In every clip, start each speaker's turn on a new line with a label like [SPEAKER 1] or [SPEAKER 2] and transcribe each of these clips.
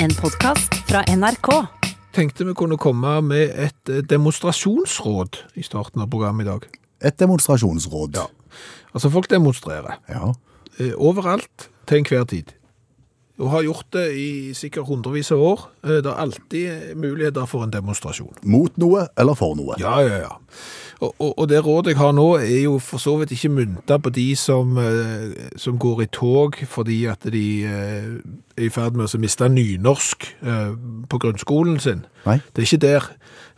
[SPEAKER 1] en podkast fra NRK.
[SPEAKER 2] Tenkte vi kunne komme med et eh, demonstrasjonsråd i starten av programmet i dag.
[SPEAKER 3] Et demonstrasjonsråd.
[SPEAKER 2] Altså, folk demonstrerer
[SPEAKER 3] Ja.
[SPEAKER 2] eh, overalt til enhver tid. Og har gjort det i sikkert hundrevis av år. Eh, Det er alltid muligheter for en demonstrasjon.
[SPEAKER 3] Mot noe eller for noe.
[SPEAKER 2] Ja, ja, ja. Og, og, og det rådet jeg har nå er jo for så vidt ikke mynta på de som, eh, som går i tog fordi at de eh, er i ferd med å miste nynorsk eh, på grunnskolen sin.
[SPEAKER 3] Nei.
[SPEAKER 2] Det er ikke der.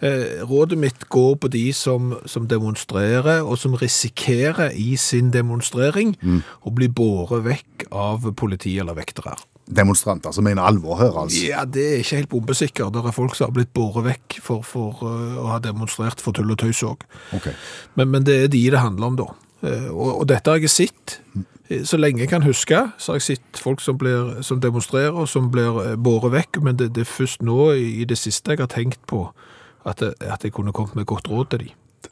[SPEAKER 2] Eh, rådet mitt går på de som, som demonstrerer, og som risikerer i sin demonstrering å bli båret vekk av politi eller vektere.
[SPEAKER 3] Demonstranter som mener alvor her, altså.
[SPEAKER 2] Ja, det er ikke helt bombesikker. Det er folk som har blitt båret vekk for, for eh, å ha demonstrert for tull og tøys òg.
[SPEAKER 3] Ok.
[SPEAKER 2] Men, men det er de det handler om da. Eh, Og, og dette har jeg sett. Eh, Så lenge jeg kan huske, så har jeg sett folk som, blir, som demonstrerer, og som blir eh, båret vekk. Men det, det er først nå i i det siste jeg har tenkt på at, jeg- at jeg kunne kommet med godt råd til de.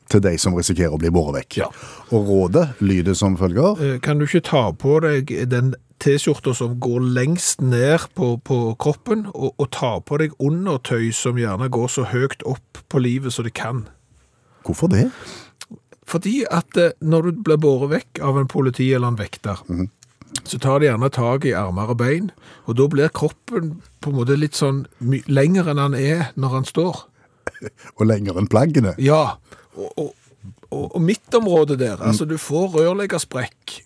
[SPEAKER 3] Til de som risikerer å bli båret vekk.
[SPEAKER 2] Ja.
[SPEAKER 3] Og rådet lyder som følger.
[SPEAKER 2] Eh, Kan du ikke ta på deg den T-skjorta som går lengst ned på, på kroppen, og, og ta på deg undertøy som gjerne går så høyt opp på livet som det kan?
[SPEAKER 3] Hvorfor det?
[SPEAKER 2] Fordi at eh, når du blir båret vekk av en politi eller en vekter, så tar de gjerne tak i armer og bein, og da blir kroppen på en måte litt sånn my- lengre enn han er når han står.
[SPEAKER 3] Og lenger enn plaggene.
[SPEAKER 2] Ja, og, og, og, og midtområdet der, altså du får rørleggersprekk.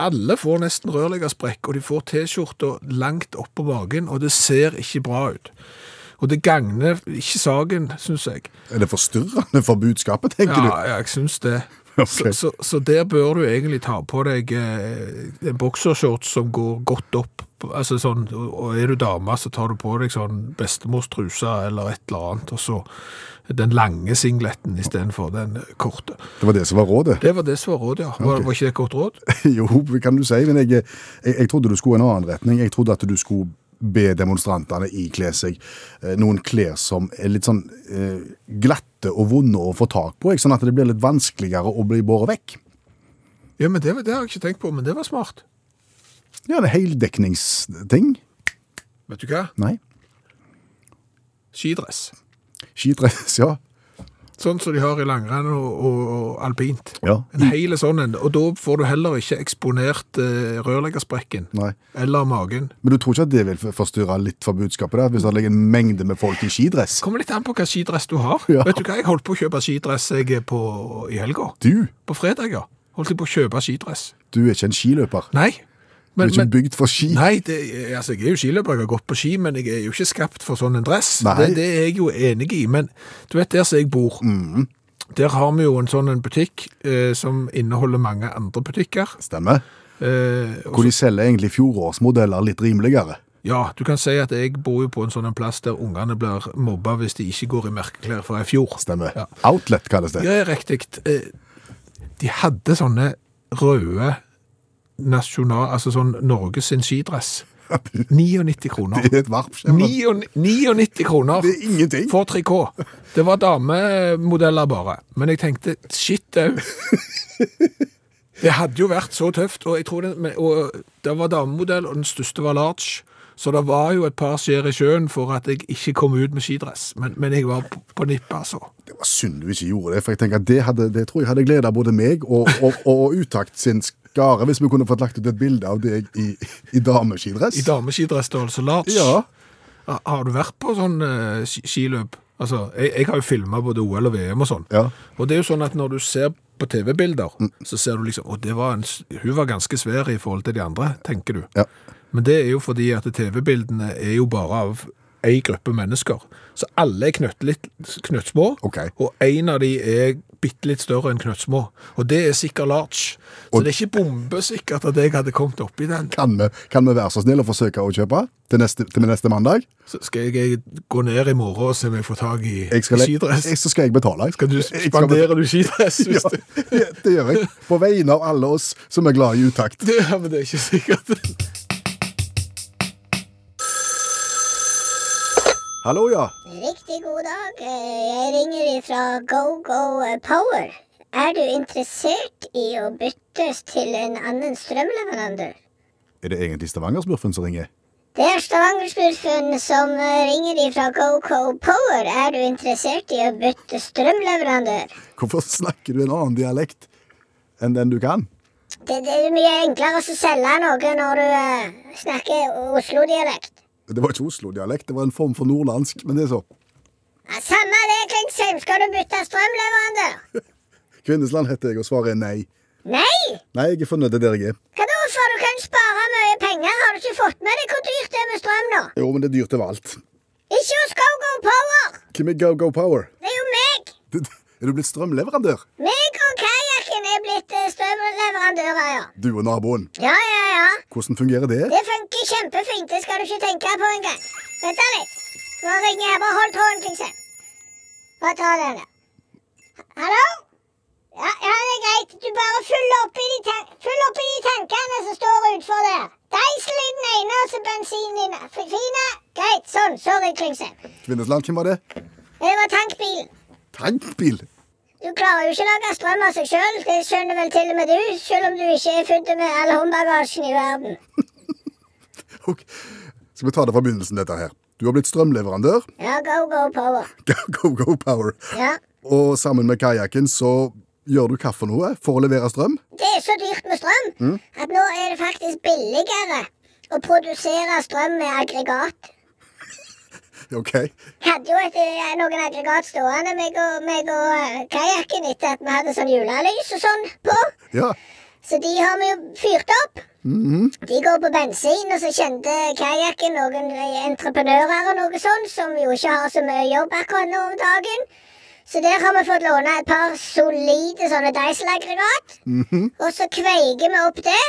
[SPEAKER 2] Alle får nesten rørleggersprekk, og de får T-skjorta langt opp på magen, og det ser ikke bra ut. Og det gagner ikke saken, synes jeg.
[SPEAKER 3] Er det forstyrrende for budskapet, tenker
[SPEAKER 2] Ja, ja, jeg syns det.
[SPEAKER 3] Ok.
[SPEAKER 2] Så, så, så der bør du egentlig ta på deg eh, en boksershorts som går godt opp. Altså sånn, og og Er du dame, så tar du på deg sånn bestemors truse eller et eller annet. Og så den lange singleten istedenfor den korte.
[SPEAKER 3] du? Det var det som var rådet.
[SPEAKER 2] Det var det som var rådet, ja. Var, var ikke det et godt råd?
[SPEAKER 3] Jo, kan du si, men jeg, jeg, jeg trodde du skulle i en annen retning. Jeg trodde at du skulle be demonstrantene ikle seg eh, noen klær som er litt sånn eh, glatte og vonde å få tak på, ikke? sånn at det blir litt vanskeligere å bli båret vekk.
[SPEAKER 2] Ja, men det, var- det har jeg ikke tenkt på, men det var smart.
[SPEAKER 3] Ja, det er heldekningsting.
[SPEAKER 2] Vet du hva?
[SPEAKER 3] Nei.
[SPEAKER 2] Skidress.
[SPEAKER 3] Skidress, ja.
[SPEAKER 2] Sånn som de har i langrenn og, og, og alpint.
[SPEAKER 3] Ja.
[SPEAKER 2] En hele sånn en. Og da får du heller ikke eksponert eh, rørleggersprekken.
[SPEAKER 3] Nei.
[SPEAKER 2] Eller magen.
[SPEAKER 3] Men du tror ikke at det vil forstyrre litt for budskapet der, hvis det ligger en mengde med folk i skidress?
[SPEAKER 2] Kommer litt an på hva skidress du har.
[SPEAKER 3] Ja.
[SPEAKER 2] Vet du hva, jeg holdt på å kjøpe skidress jeg på, i helga.
[SPEAKER 3] Du,
[SPEAKER 2] På fredag, ja. Holdt jeg på å kjøpe skidress.
[SPEAKER 3] du er ikke en skiløper.
[SPEAKER 2] Nei.
[SPEAKER 3] Du
[SPEAKER 2] Men,
[SPEAKER 3] er ikke
[SPEAKER 2] men,
[SPEAKER 3] bygd for ski.
[SPEAKER 2] nei, det, altså jeg er jo skiløper, jeg har gått på ski, men jeg er jo ikke skapt for sånn en dress.
[SPEAKER 3] Nei.
[SPEAKER 2] Det, det er jeg jo enig i, men du vet der som jeg bor,
[SPEAKER 3] Mm.
[SPEAKER 2] der har vi jo en sånn en butikk eh, som inneholder mange andre butikker.
[SPEAKER 3] Stemmer.
[SPEAKER 2] Eh, og
[SPEAKER 3] Hvor de selger egentlig fjorårsmodeller litt rimeligere.
[SPEAKER 2] Ja, du kan si at jeg bor jo på en sånn en plass der ungene blir mobba hvis de ikke går i merkeklær fra i fjor.
[SPEAKER 3] Stemmer.
[SPEAKER 2] Ja.
[SPEAKER 3] Outlet kalles det.
[SPEAKER 2] Ja, ja, riktig. Eh, De hadde sånne røde nasjonal... Altså sånn Norges sin skidress. 99 kroner.
[SPEAKER 3] Det er et varpskjemmer.
[SPEAKER 2] 99 99 kroner
[SPEAKER 3] Det er ingenting.
[SPEAKER 2] for trikot. Det var damemodeller bare. Men jeg tenkte, shit, det Det hadde jo vært så tøft, og jeg tror det, men- og det var damemodell, og den største var large, så det var jo et par skjer i sjøen for at jeg ikke kom ut med skidress. Men, men jeg var på, på nippet, altså.
[SPEAKER 3] Det var synd du ikke gjorde det, for jeg tenker at det, hadde, det tror jeg hadde gleda både meg og, og, og Utakt sin skare, hvis vi kunne fått lagt ut et bilde av deg i, i dameskidress.
[SPEAKER 2] I dameskidress da, altså large.
[SPEAKER 3] Ja.
[SPEAKER 2] Ha- Har du vært på sånn eh, ski- skiløp? Altså, jeg, jeg har jo filma både OL og VM og sånn.
[SPEAKER 3] Ja. Mm.
[SPEAKER 2] Og det er jo sånn at når du ser på TV-bilder, så ser du liksom Å, det var en, s- hun var ganske svær i forhold til de andre, tenker du.
[SPEAKER 3] Ja.
[SPEAKER 2] Men det er jo fordi at TV-bildene er jo bare av ei gruppe mennesker. Så alle er knøttlitt- knøttsmå,
[SPEAKER 3] Ok.
[SPEAKER 2] og en av de er bitte litt større enn knøttsmå. Og det er sikkert large. Så
[SPEAKER 3] Og-
[SPEAKER 2] det er ikke bombesikkert at jeg hadde kommet oppi den.
[SPEAKER 3] Kan, vi, kan vi være så snill å forsøke å kjøpe til neste, til neste mandag?
[SPEAKER 2] Så skal jeg gå ned i morgen og se om jeg får tak i
[SPEAKER 3] Jeg skal,
[SPEAKER 2] i skidress.
[SPEAKER 3] Jeg, så skal jeg betale. Jeg
[SPEAKER 2] Skal du spandere du skidress? Hvis
[SPEAKER 3] Ja,
[SPEAKER 2] du...
[SPEAKER 3] det, det gjør jeg. På vegne av alle oss som er glad i utakt.
[SPEAKER 2] Det, ja, men det er ikke sikkert.
[SPEAKER 3] Hallo, ja.
[SPEAKER 4] Riktig god dag. Eh, Jeg ringer ifra GoGo Power. Er du interessert i å byttes til en annen strømleverandør?
[SPEAKER 3] Er det egentlig Stavanger-smurfen som ringer?
[SPEAKER 4] Det er Stavanger-smurfen som eh, ringer ifra GoCo Power. Er du interessert i å bytte strømleverandør?
[SPEAKER 3] Hvorfor snakker du en annen dialekt enn den du kan?
[SPEAKER 4] Det, det er jo mye enklere å selge noe når du eh, snakker Oslo-dialekt.
[SPEAKER 3] Det var ikke Oslo-dialekt, det var en form for nordlandsk, men det er så.
[SPEAKER 4] Ja, Samme det, Klingsheim. Skal du bytte strømleverandør?
[SPEAKER 3] Kvinnesland heter jeg, og svaret er nei.
[SPEAKER 4] Nei!
[SPEAKER 3] Nei, jeg er fornøyd der jeg er.
[SPEAKER 4] Hva da, for du kan spare mye penger? Har du ikke fått med deg hvor dyrt det er med strøm nå?
[SPEAKER 3] Jo, men det er dyrt over alt.
[SPEAKER 4] Ikke hos GoGo Power!
[SPEAKER 3] Hvem er Go Go Power?
[SPEAKER 4] Det er jo meg!
[SPEAKER 3] Er du blitt strømleverandør?
[SPEAKER 4] Meg og kajakken er blitt eh, strømleverandører, ja.
[SPEAKER 3] Du og naboen.
[SPEAKER 4] Ja, ja, ja.
[SPEAKER 3] Hvordan fungerer det?
[SPEAKER 4] Det funker kjempefint, det skal du ikke tenke på engang. Vent da litt. Nå ringer jeg. Bare hold tråden, Klingsheim. Bare ta den der. Hallo? Ja, ja, det er greit. Du bare fyll opp i de, tan fyll opp i de tankene som står utfor der. Diesel i den ene, og så bensin i den andre. F- Fine? Greit. Sånn. Sorry, Klingsheim.
[SPEAKER 3] Kvinnesland, hvem var det?
[SPEAKER 4] Det var tankbilen.
[SPEAKER 3] Tankbil!
[SPEAKER 4] Du klarer jo ikke å lage strøm av seg sjøl. Det skjønner vel til og med du, sjøl om du ikke er født med all håndbagasjen i verden.
[SPEAKER 3] Ok. Skal vi ta det fra begynnelsen, dette her. Du har blitt strømleverandør,
[SPEAKER 4] Ja, go, go, power.
[SPEAKER 3] Go Go, go Power,
[SPEAKER 4] Ja.
[SPEAKER 3] og sammen med kajakken så gjør du hva for noe for å levere strøm?
[SPEAKER 4] Det er så dyrt med strøm at nå er det faktisk billigere å produsere strøm med aggregat.
[SPEAKER 3] Ok.
[SPEAKER 4] Jeg hadde jo et, eh, noen aggregat stående, meg og, meg og eh, kajakken, etter at vi hadde sånn julelys og sånn på.
[SPEAKER 3] Ja.
[SPEAKER 4] Så de har vi jo fyrt opp. De går på bensin, og så kjente kajakken noen eh, entreprenører og noe sånn, som jo ikke har så mye jobb akkurat nå om dagen. Så der har vi fått låne et par solide sånne Diesel-aggregat. Og så kveiger vi opp det,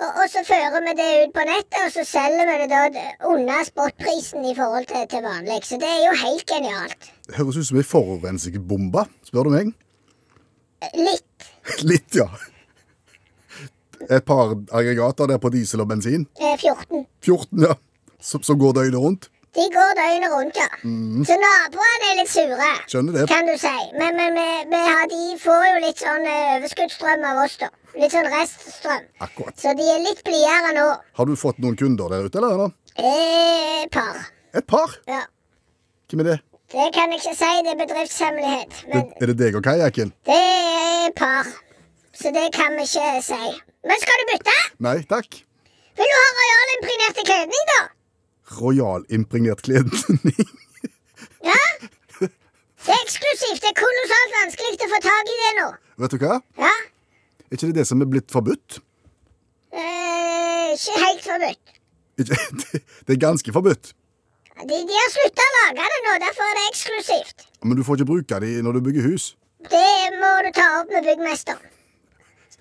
[SPEAKER 4] og, og så fører vi det ut på nettet, og så selger vi det da d- under spotprisen i forhold til, til vanlig. Så det er jo helt genialt.
[SPEAKER 3] Høres ut som ei forurensningsbombe, spør du meg.
[SPEAKER 4] Litt.
[SPEAKER 3] Litt, ja. Et par aggregater der på diesel og bensin.
[SPEAKER 4] eh, 14.
[SPEAKER 3] 14, ja. Som, som går døgnet rundt.
[SPEAKER 4] De går døgnet rundt, ja. Så naboene er litt sure,
[SPEAKER 3] Skjønner det.
[SPEAKER 4] kan du si. Men, men, men, men ja, de får jo litt sånn eh, overskuddsstrøm av oss, da. Litt sånn reststrøm.
[SPEAKER 3] Akkurat.
[SPEAKER 4] Så de er litt blidere nå.
[SPEAKER 3] Har du fått noen kunder der ute, eller? eller?
[SPEAKER 4] Eh, par.
[SPEAKER 3] Et par?
[SPEAKER 4] Ja.
[SPEAKER 3] Hvem er det?
[SPEAKER 4] Det kan jeg ikke si, det er bedriftshemmelighet.
[SPEAKER 3] Er,
[SPEAKER 4] Men
[SPEAKER 3] er det deg og kajakken?
[SPEAKER 4] det er par. Så det kan vi ikke si. Men skal du bytte?
[SPEAKER 3] Nei takk.
[SPEAKER 4] Vil du ha royalimprinerte kledning, da?
[SPEAKER 3] Royalimpregnert kledning.
[SPEAKER 4] Ja? Det er eksklusivt. Det er kolossalt vanskelig å få tak i det nå.
[SPEAKER 3] Vet du hva?
[SPEAKER 4] Ja?
[SPEAKER 3] Er ikke det det som er blitt forbudt?
[SPEAKER 4] Eh, ikke helt forbudt.
[SPEAKER 3] Ikke, det, det er ganske forbudt.
[SPEAKER 4] De, de har slutta å lage det nå, derfor er det eksklusivt.
[SPEAKER 3] Men du får ikke bruke de når du bygger hus.
[SPEAKER 4] Det må du ta opp med byggmesteren.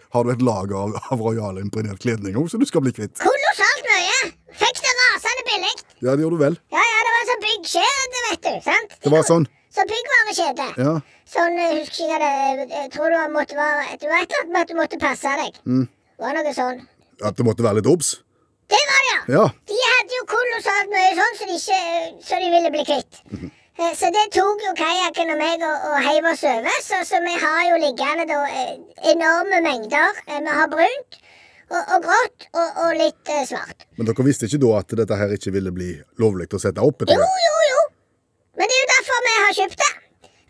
[SPEAKER 3] Har du et lager av, av royalimpregnert kledning òg, så du skal bli kvitt?
[SPEAKER 4] Kolossalt mye! Fikk det rasende billig.
[SPEAKER 3] Ja, det gjør du vel.
[SPEAKER 4] Ja, ja, det var sånn byggkjede, vet du. sant?
[SPEAKER 3] Det var sånn.
[SPEAKER 4] Så byggvarekjede.
[SPEAKER 3] Ja.
[SPEAKER 4] Sånn, eh, husker ikke hva det Jeg tror det var- måtte være Det var et eller annet med at du måtte passe deg.
[SPEAKER 3] Mm.
[SPEAKER 4] Det var noe sånn.
[SPEAKER 3] At det måtte være litt obs?
[SPEAKER 4] Det var det, ja!
[SPEAKER 3] Ja.
[SPEAKER 4] De hadde jo kolossalt mye sånn som de, ikke, så de ville bli kvitt. Eh, Så det tok jo kajakken og meg og, og heiv oss over. Så, så vi har jo liggende da eh, enorme mengder. Eh, Vi har brunt og, og grått og, og litt eh, svart.
[SPEAKER 3] Men dere visste ikke da at dette her ikke ville bli lovlig å sette opp? etter
[SPEAKER 4] Jo,
[SPEAKER 3] det?
[SPEAKER 4] jo, jo. Men det er jo derfor vi har kjøpt det.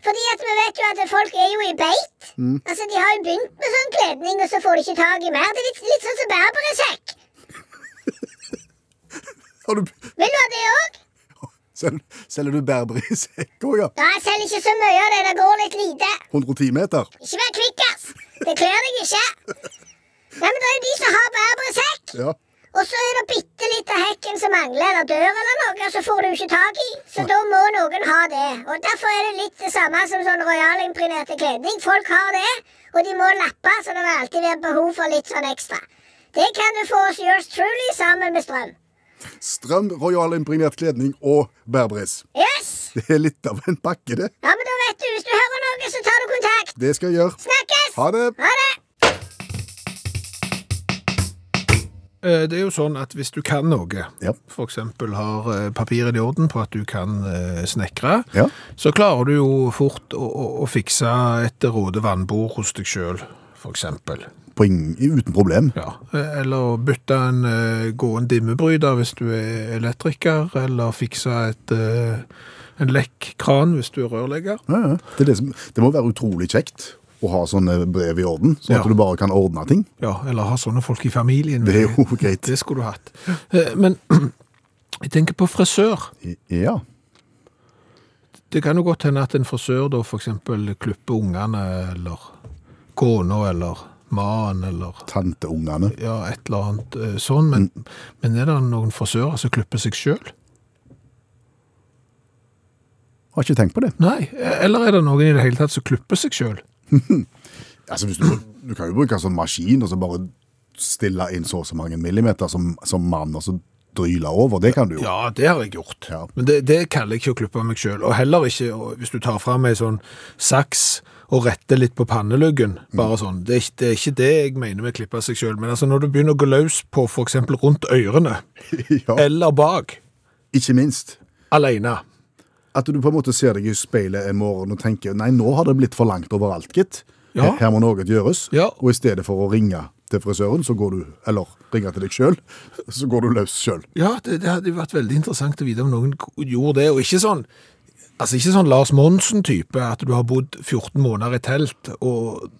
[SPEAKER 4] Fordi at vi vet jo at folk er jo i beit. Altså, De har jo begynt med sånn kledning, og så får de ikke tak i mer. Det er litt, litt sånn som berberesekk.
[SPEAKER 3] Har du,
[SPEAKER 4] Vil du ha det òg?
[SPEAKER 3] sel, selger du berber i sekk òg, ja?
[SPEAKER 4] Ja, jeg selger ikke så mye av det. Det går litt lite.
[SPEAKER 3] 110 meter?
[SPEAKER 4] Ikke vær kvikkas! Det kler deg ikke. Nei, men Det er jo de som har berberesekk,
[SPEAKER 3] Ja.
[SPEAKER 4] og så er det bitte litt av hekken som mangler, eller dør eller noe, så får du ikke tak i. Så da må noen ha det. Og Derfor er det litt det samme som sånn royalimprinerte kledning. Folk har det, og de må lappe, så det vil alltid være behov for litt sånn ekstra. Det kan du få hos Yours Truly sammen med strøm.
[SPEAKER 3] Strøm, royalimpregnert kledning og berberis.
[SPEAKER 4] Yes!
[SPEAKER 3] Det er litt av en pakke, det.
[SPEAKER 4] Ja, men da vet du, hvis du hører noe, så tar du kontakt.
[SPEAKER 3] Det skal jeg gjøre.
[SPEAKER 4] Snakkes!
[SPEAKER 3] Ha det!
[SPEAKER 4] Ha det!
[SPEAKER 2] Eh, Det er jo sånn at hvis du kan noe,
[SPEAKER 3] Ja.
[SPEAKER 2] for eksempel har eh, papiret i orden på at du kan eh, snekre,
[SPEAKER 3] Ja.
[SPEAKER 2] så klarer du jo fort å, å, å fikse et råde vannbord hos deg selv, for eksempel.
[SPEAKER 3] springe uten problem.
[SPEAKER 2] Ja. Eh, Eller bytte en eh, gåen dimmebryter hvis du er elektriker, eller fikse et, eh, en lekk kran hvis du er rørlegger.
[SPEAKER 3] Ja, ja. Det, er det, som, det må være utrolig kjekt å ha sånne brev i orden, sånn
[SPEAKER 2] Ja.
[SPEAKER 3] at du bare kan ordne ting.
[SPEAKER 2] Ja, eller ha sånne folk i familien.
[SPEAKER 3] Det er jo greit.
[SPEAKER 2] Det skulle du hatt. Eh, Men jeg tenker på frisør.
[SPEAKER 3] Ja.
[SPEAKER 2] Det kan jo godt hende at en frisør da for eksempel klipper ungene, eller kona, eller mannen, eller
[SPEAKER 3] Tanteungene.
[SPEAKER 2] ja, et eller annet eh, sånn. Men,
[SPEAKER 3] Mm.
[SPEAKER 2] men er det noen frisører som klipper seg sjøl?
[SPEAKER 3] Har ikke tenkt på det.
[SPEAKER 2] Nei. e-, Eller er det noen i det hele tatt som klipper seg sjøl?
[SPEAKER 3] Altså, hvis du, du kan jo bruke en sånn maskin og så bare stille inn så og så mange millimeter som, som mann, og så dryle over. Det kan du jo.
[SPEAKER 2] Ja, det har jeg gjort.
[SPEAKER 3] Ja.
[SPEAKER 2] Men det, det kaller jeg ikke å klippe meg sjøl. Og heller ikke å- hvis du tar fram ei sånn saks og retter litt på panneluggen.
[SPEAKER 3] Mm.
[SPEAKER 2] Bare sånn. Det er, ikke- det er ikke det jeg mener med å klippe seg sjøl. Men altså, når du begynner å gå løs på f.eks. rundt ørene,
[SPEAKER 3] Ja,
[SPEAKER 2] eller bak,
[SPEAKER 3] Ikke minst.
[SPEAKER 2] aleine
[SPEAKER 3] At du på en måte ser deg i speilet en morgen og tenker nei, nå har det blitt for langt overalt, gitt.
[SPEAKER 2] Ja.
[SPEAKER 3] Her må noe gjøres.
[SPEAKER 2] Ja.
[SPEAKER 3] Og i stedet for å ringe til frisøren, så går du, eller ringe til deg sjøl, så går du løs sjøl.
[SPEAKER 2] Ja, det, det hadde jo vært veldig interessant å vite om noen gjorde det, og ikke sånn Altså ikke sånn Lars Monsen-type, at du har bodd 14 måneder i telt, og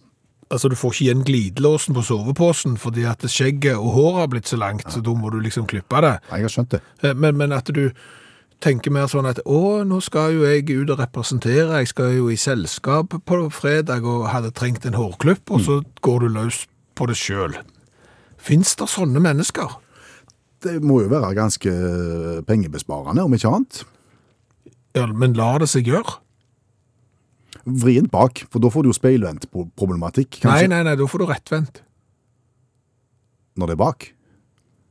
[SPEAKER 2] altså du får ikke igjen glidelåsen på soveposen fordi at skjegget og håret har blitt så langt, så da må du liksom klippe det.
[SPEAKER 3] Jeg har skjønt det.
[SPEAKER 2] Eh, Men, men at du tenker mer sånn at å, nå skal jo jeg ut og representere, jeg skal jo i selskap på fredag og hadde trengt en hårklipp, og så går du løs på det sjøl. Fins det sånne mennesker?
[SPEAKER 3] Det må jo være ganske pengebesparende, om ikke annet.
[SPEAKER 2] Ja, men lar det seg gjøre?
[SPEAKER 3] Vrient bak, for da får du jo speilvendtproblematikk,
[SPEAKER 2] Nei,
[SPEAKER 3] kanskje,
[SPEAKER 2] nei, nei, da får du rettvendt.
[SPEAKER 3] når det er bak.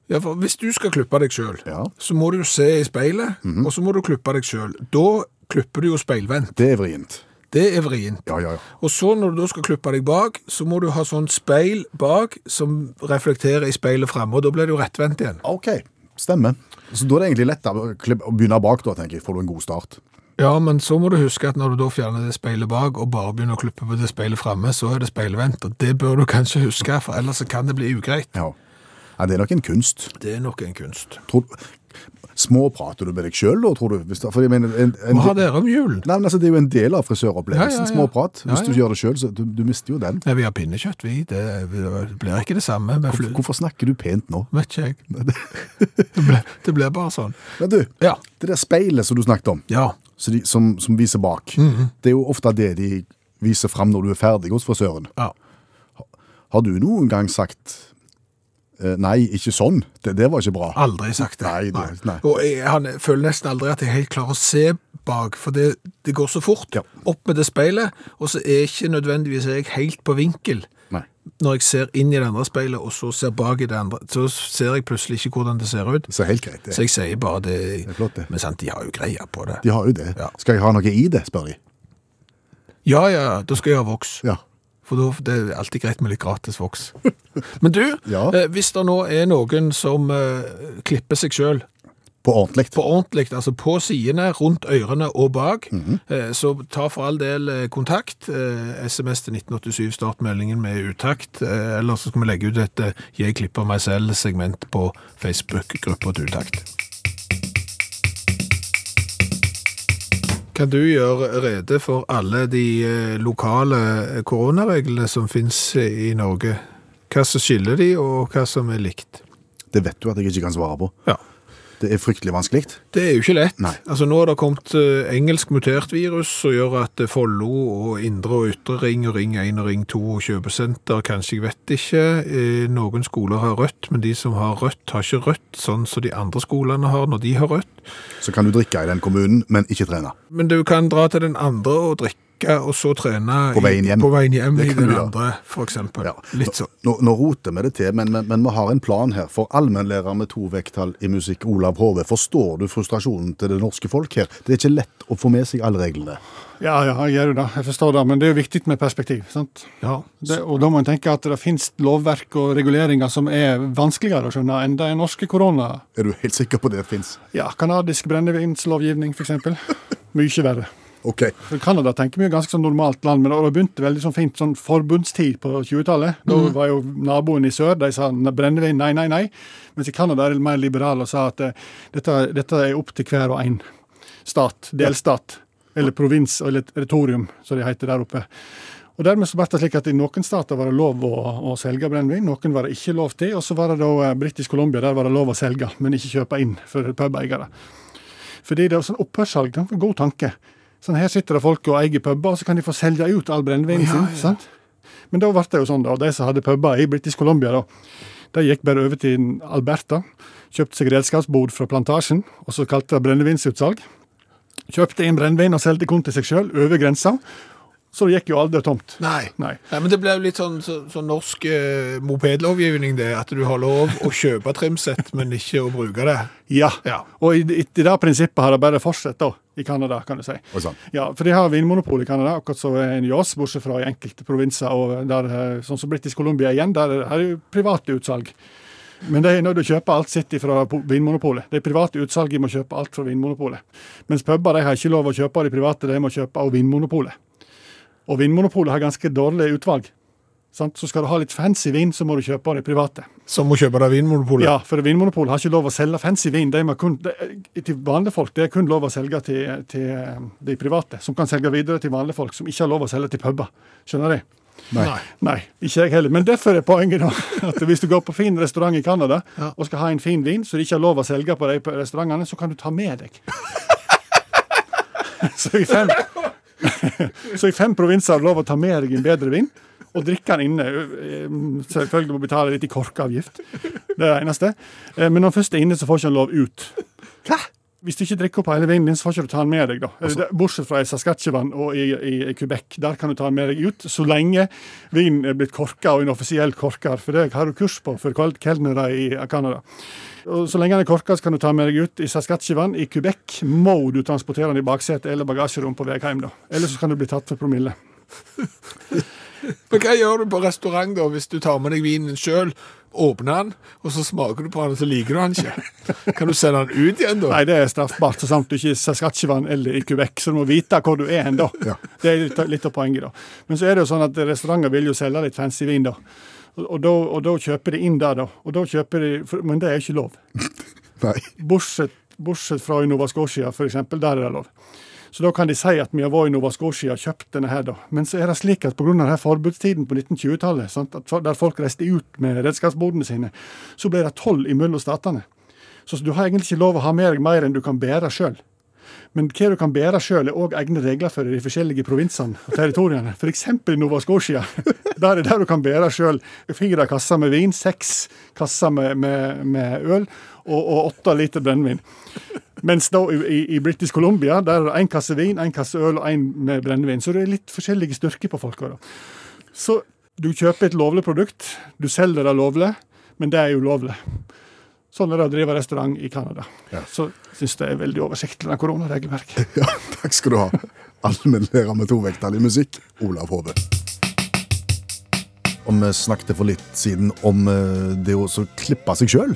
[SPEAKER 2] Ja, for hvis du skal klippe deg sjøl,
[SPEAKER 3] Ja.
[SPEAKER 2] så må du se i speilet, og så må du klippe deg sjøl. Da klipper du jo speilvendt.
[SPEAKER 3] Det er vrient.
[SPEAKER 2] Det er vrient.
[SPEAKER 3] Ja, ja, ja.
[SPEAKER 2] Og så når du da skal klippe deg bak, så må du ha sånn speil bak som reflekterer i speilet framme, og da blir det jo rettvendt igjen.
[SPEAKER 3] Ah, Ok, stemmer. Så da er det egentlig lettere å klippe- å begynne bak, da, tenker jeg. Får du en god start.
[SPEAKER 2] Ja, men så må du huske at når du da fjerner det speilet bak, og bare begynner å klippe på det speilet framme, så er det speilvendt. Og det bør du kanskje huske, for ellers så kan det bli ugreit.
[SPEAKER 3] Ja. ja det er nok en kunst.
[SPEAKER 2] Det er nok en kunst.
[SPEAKER 3] Tror du... Småprater du med deg sjøl, da, tror du? Hvis, det- for jeg mener, en, en,
[SPEAKER 2] Hva har dere om julen?
[SPEAKER 3] Nei, men altså, Det er jo en del av frisøropplevelsen,
[SPEAKER 2] Ja, ja, ja.
[SPEAKER 3] småprat. Hvis
[SPEAKER 2] Ja,
[SPEAKER 3] du
[SPEAKER 2] ja.
[SPEAKER 3] gjør det sjøl, så du, du mister jo den.
[SPEAKER 2] Nei, vi har pinnekjøtt, vi. Det det blir ikke det samme. med flu-
[SPEAKER 3] Hvorfor snakker du pent nå?
[SPEAKER 2] Vet ikke jeg. Det ble, det ble bare sånn.
[SPEAKER 3] Men du,
[SPEAKER 2] Ja.
[SPEAKER 3] det der speilet som du snakket om,
[SPEAKER 2] Ja.
[SPEAKER 3] så de, som, som viser bak,
[SPEAKER 2] Mhm.
[SPEAKER 3] det er jo ofte det de viser fram når du er ferdig hos frisøren.
[SPEAKER 2] ja.
[SPEAKER 3] Har du noen gang sagt eh, Nei, ikke sånn. Det, det var ikke bra.
[SPEAKER 2] Aldri sagt det.
[SPEAKER 3] Nei, det- nei.
[SPEAKER 2] Og jeg, han føler nesten aldri at jeg helt klarer å se bak, for det, det går så fort.
[SPEAKER 3] Ja.
[SPEAKER 2] Opp med det speilet, og så er ikke nødvendigvis jeg helt på vinkel.
[SPEAKER 3] Nei.
[SPEAKER 2] Når jeg ser inn i det andre speilet, og så ser bak i det andre, så ser jeg plutselig ikke hvordan det ser ut.
[SPEAKER 3] Så helt greit. Det.
[SPEAKER 2] Så jeg sier bare det.
[SPEAKER 3] er flott, det.
[SPEAKER 2] Men sant, de har jo greia på det.
[SPEAKER 3] De har jo det.
[SPEAKER 2] Ja.
[SPEAKER 3] Skal jeg ha noe i det, spør de.
[SPEAKER 2] Ja, ja, da skal jeg ha voks.
[SPEAKER 3] Ja.
[SPEAKER 2] For da, det er alltid greit med litt gratis voks. Men du,
[SPEAKER 3] Ja.
[SPEAKER 2] eh, hvis det nå er noen som eh, klipper seg sjøl
[SPEAKER 3] På ordentlig.
[SPEAKER 2] på ordentlig, altså på sidene, rundt ørene og bak, eh, så ta for all del eh, kontakt. Eh, SMS til 1987, start meldingen med utakt. Eh, eller så skal vi legge ut et eh, 'Jeg klipper meg selv'-segment på Facebook-gruppa til utakt. Kan du gjøre rede for alle de eh, lokale eh, koronareglene som finnes i Norge? Hva som skiller de, og hva som er likt?
[SPEAKER 3] Det vet du at jeg ikke kan svare på.
[SPEAKER 2] Ja.
[SPEAKER 3] Det er fryktelig vanskelig.
[SPEAKER 2] Det er jo ikke lett.
[SPEAKER 3] Nei.
[SPEAKER 2] Altså Nå har det kommet eh, engelsk mutert virus som gjør at eh, Follo og indre og ytre ring og ring 1 og ring 2 og kjøpesenter kanskje, jeg vet ikke. Eh, Noen skoler har rødt, men de som har rødt, har ikke rødt, sånn som de andre skolene har når de har rødt.
[SPEAKER 3] Så kan du drikke i den kommunen, men ikke trene.
[SPEAKER 2] Men du kan dra til den andre og drikke, og så trene
[SPEAKER 3] På veien
[SPEAKER 2] i,
[SPEAKER 3] hjem.
[SPEAKER 2] på veien hjem i
[SPEAKER 3] Det kan
[SPEAKER 2] den
[SPEAKER 3] du gjøre.
[SPEAKER 2] andre, for eksempel.
[SPEAKER 3] Ja.
[SPEAKER 2] Litt sånn.
[SPEAKER 3] Nå, nå roter vi det til, men, men, men vi har en plan her. For allmennlærer med to vekttall i musikk, Olav Hove, forstår du frustrasjonen til det norske folk her? Det er ikke lett å få med seg alle reglene.
[SPEAKER 5] Ja, ja, jeg gjør jo det. Jeg forstår det, men det er jo viktig med perspektiv. sant?
[SPEAKER 2] Ja.
[SPEAKER 5] Det, og da må en tenke at det finnes lovverk og reguleringer som er vanskeligere å skjønne enn det norske korona.
[SPEAKER 3] Er du helt sikker på det fins?
[SPEAKER 5] Ja, Kanadisk brennevinslovgivning, f.eks. Mye verre.
[SPEAKER 3] OK.
[SPEAKER 5] For Canada tenker vi jo ganske sånn normalt land, men det begynte veldig sånn fint sånn forbundstid på 20-tallet. Da var jo naboen i sør, de sa "Ne- brennevin, nei, nei, nei. Mens i Canada er de mer liberale og sa at eh, dette, dette er opp til hver og en stat, delstat, eller provins, eller territorium, som de heter der oppe. Og dermed så ble det slik at I noen stater var det lov å, å selge brennevin, noen var det ikke lov til. Og så var det da eh, British Columbia, der var det lov å selge, men ikke kjøpe inn for pubeiere. Fordi det er sånn opphørssalg det er en god tanke. Sånn Her sitter det folk og eier puber, og så kan de få selge ut all brennevinen sin. sant? Men da ble det jo sånn, da. De som hadde puber i British Columbia, da, de gikk bare over til Alberta. Kjøpte seg redskapsbod fra plantasjen, og så kalte det brennevinsutsalg. Kjøpte inn brennevin og solgte kun til seg sjøl, over grensa. Så det gikk jo aldri tomt.
[SPEAKER 2] Nei.
[SPEAKER 5] Nei.
[SPEAKER 2] men det ble jo litt sånn, så, sånn norsk eh, mopedlovgivning, det. At du har lov å kjøpe trimsett, men ikke å bruke det.
[SPEAKER 5] Ja.
[SPEAKER 2] Ja.
[SPEAKER 5] Og i, i, i det prinsippet har det bare fortsatt da, i Canada, kan du si.
[SPEAKER 3] Oi sann.
[SPEAKER 5] Ja, for de har vinmonopol i Canada, akkurat som en i oss, bortsett fra i enkelte provinser. og der, eh, Sånn som British Columbia igjen, der er det jo private utsalg. Men de er nødt til å kjøpe alt sitt fra Vinmonopolet. De private utsalgene må kjøpe alt fra Vinmonopolet. Mens puber de har ikke lov å kjøpe av de private, de må kjøpe av Vinmonopolet. Og Vinmonopolet har ganske dårlig utvalg. Sant? Så skal du ha litt fancy vin, så må du kjøpe av de private.
[SPEAKER 2] Som å kjøpe det av Vinmonopolet.
[SPEAKER 5] Ja, for Vinmonopolet har ikke lov å selge fancy vin. De må kun, de, til vanlige folk det er kun lov å selge til, til eh, de private, som kan selge videre til vanlige folk som ikke har lov å selge til puber. Skjønner de?
[SPEAKER 3] Nei.
[SPEAKER 5] Nei, ikke jeg heller. Men derfor er poenget da, at hvis du går på fin restaurant i Canada og skal ha en fin vin som de ikke har lov å selge på de restaurantene, så kan du ta med deg. så, i fem, så i fem provinser har du lov å ta med deg en bedre vin. Og drikke den inne. eh, Selvfølgelig må du betale litt i korkeavgift. Det er det eneste. Eh, Men når den først er inne, så får ikke den lov ut. Hvis du ikke drikker opp hele vinen din, så får ikke du ta den med deg. da. Eh, Det- Bortsett fra i Saskatchewan og i, i, i Quebec. Der kan du ta den med deg ut, så lenge vinen er blitt korka og en offisiell korker. For det har du kurs på for kel- kelnere i Canada. Og Så lenge den er korka, så kan du ta den med deg ut. I Saskatchewan, i Quebec, må du transportere den i baksetet eller bagasjerom på vei hjem. da. Ellers så kan du bli tatt for promille.
[SPEAKER 2] Men hva gjør du på restaurant da, hvis du tar med deg vinen sjøl, åpner den, og så smaker du på den, og så liker du den ikke? Kan du sende den ut igjen da?
[SPEAKER 5] Nei, det er straffbart, så sant du ikke er i Saskatchewan eller i Quebec. Så du må vite hvor du er hen, da. Det er litt, litt av poenget, da. Men så er det jo sånn at restauranter vil jo selge litt fancy vin, da. Og, og, da, og da kjøper de inn der, da. Og da kjøper de, for, Men det er jo ikke lov.
[SPEAKER 3] Nei.
[SPEAKER 5] Bortsett, bortsett fra i Nova Scotia, for eksempel, der er det lov. Så da kan de si at vi har vært i Nova Scotia og kjøpt denne her, da. Men så er det slik at pga. forbudstiden på 1920-tallet, sant, at for- der folk reiste ut med redskapsbodene sine, så ble det toll imellom statene. Så så du har egentlig ikke lov å ha med deg mer enn du kan bære sjøl. Men hva du kan bære sjøl, er òg egne regler for i de forskjellige provinsene og territoriene. F.eks. i Nova Scotia. Der er det du kan bære sjøl fire kasser med vin, seks kasser med, med, med øl og, og åtte liter brennevin. Mens da i, i, i British Columbia der er det én kasse vin, én kasse øl og én med brennevin. Så det er litt forskjellige styrker på folka. da. Så du kjøper et lovlig produkt, du selger det lovlig, men det er ulovlig. Sånn er det å drive restaurant i Canada. Så syns jeg det er veldig oversiktlig, det koronaregelverket.
[SPEAKER 3] Ja, takk skal du ha. Allmennlærer med tovekttall i musikk, Olav Hove. Om vi snakket for litt siden om eh, det å så klippe seg sjøl.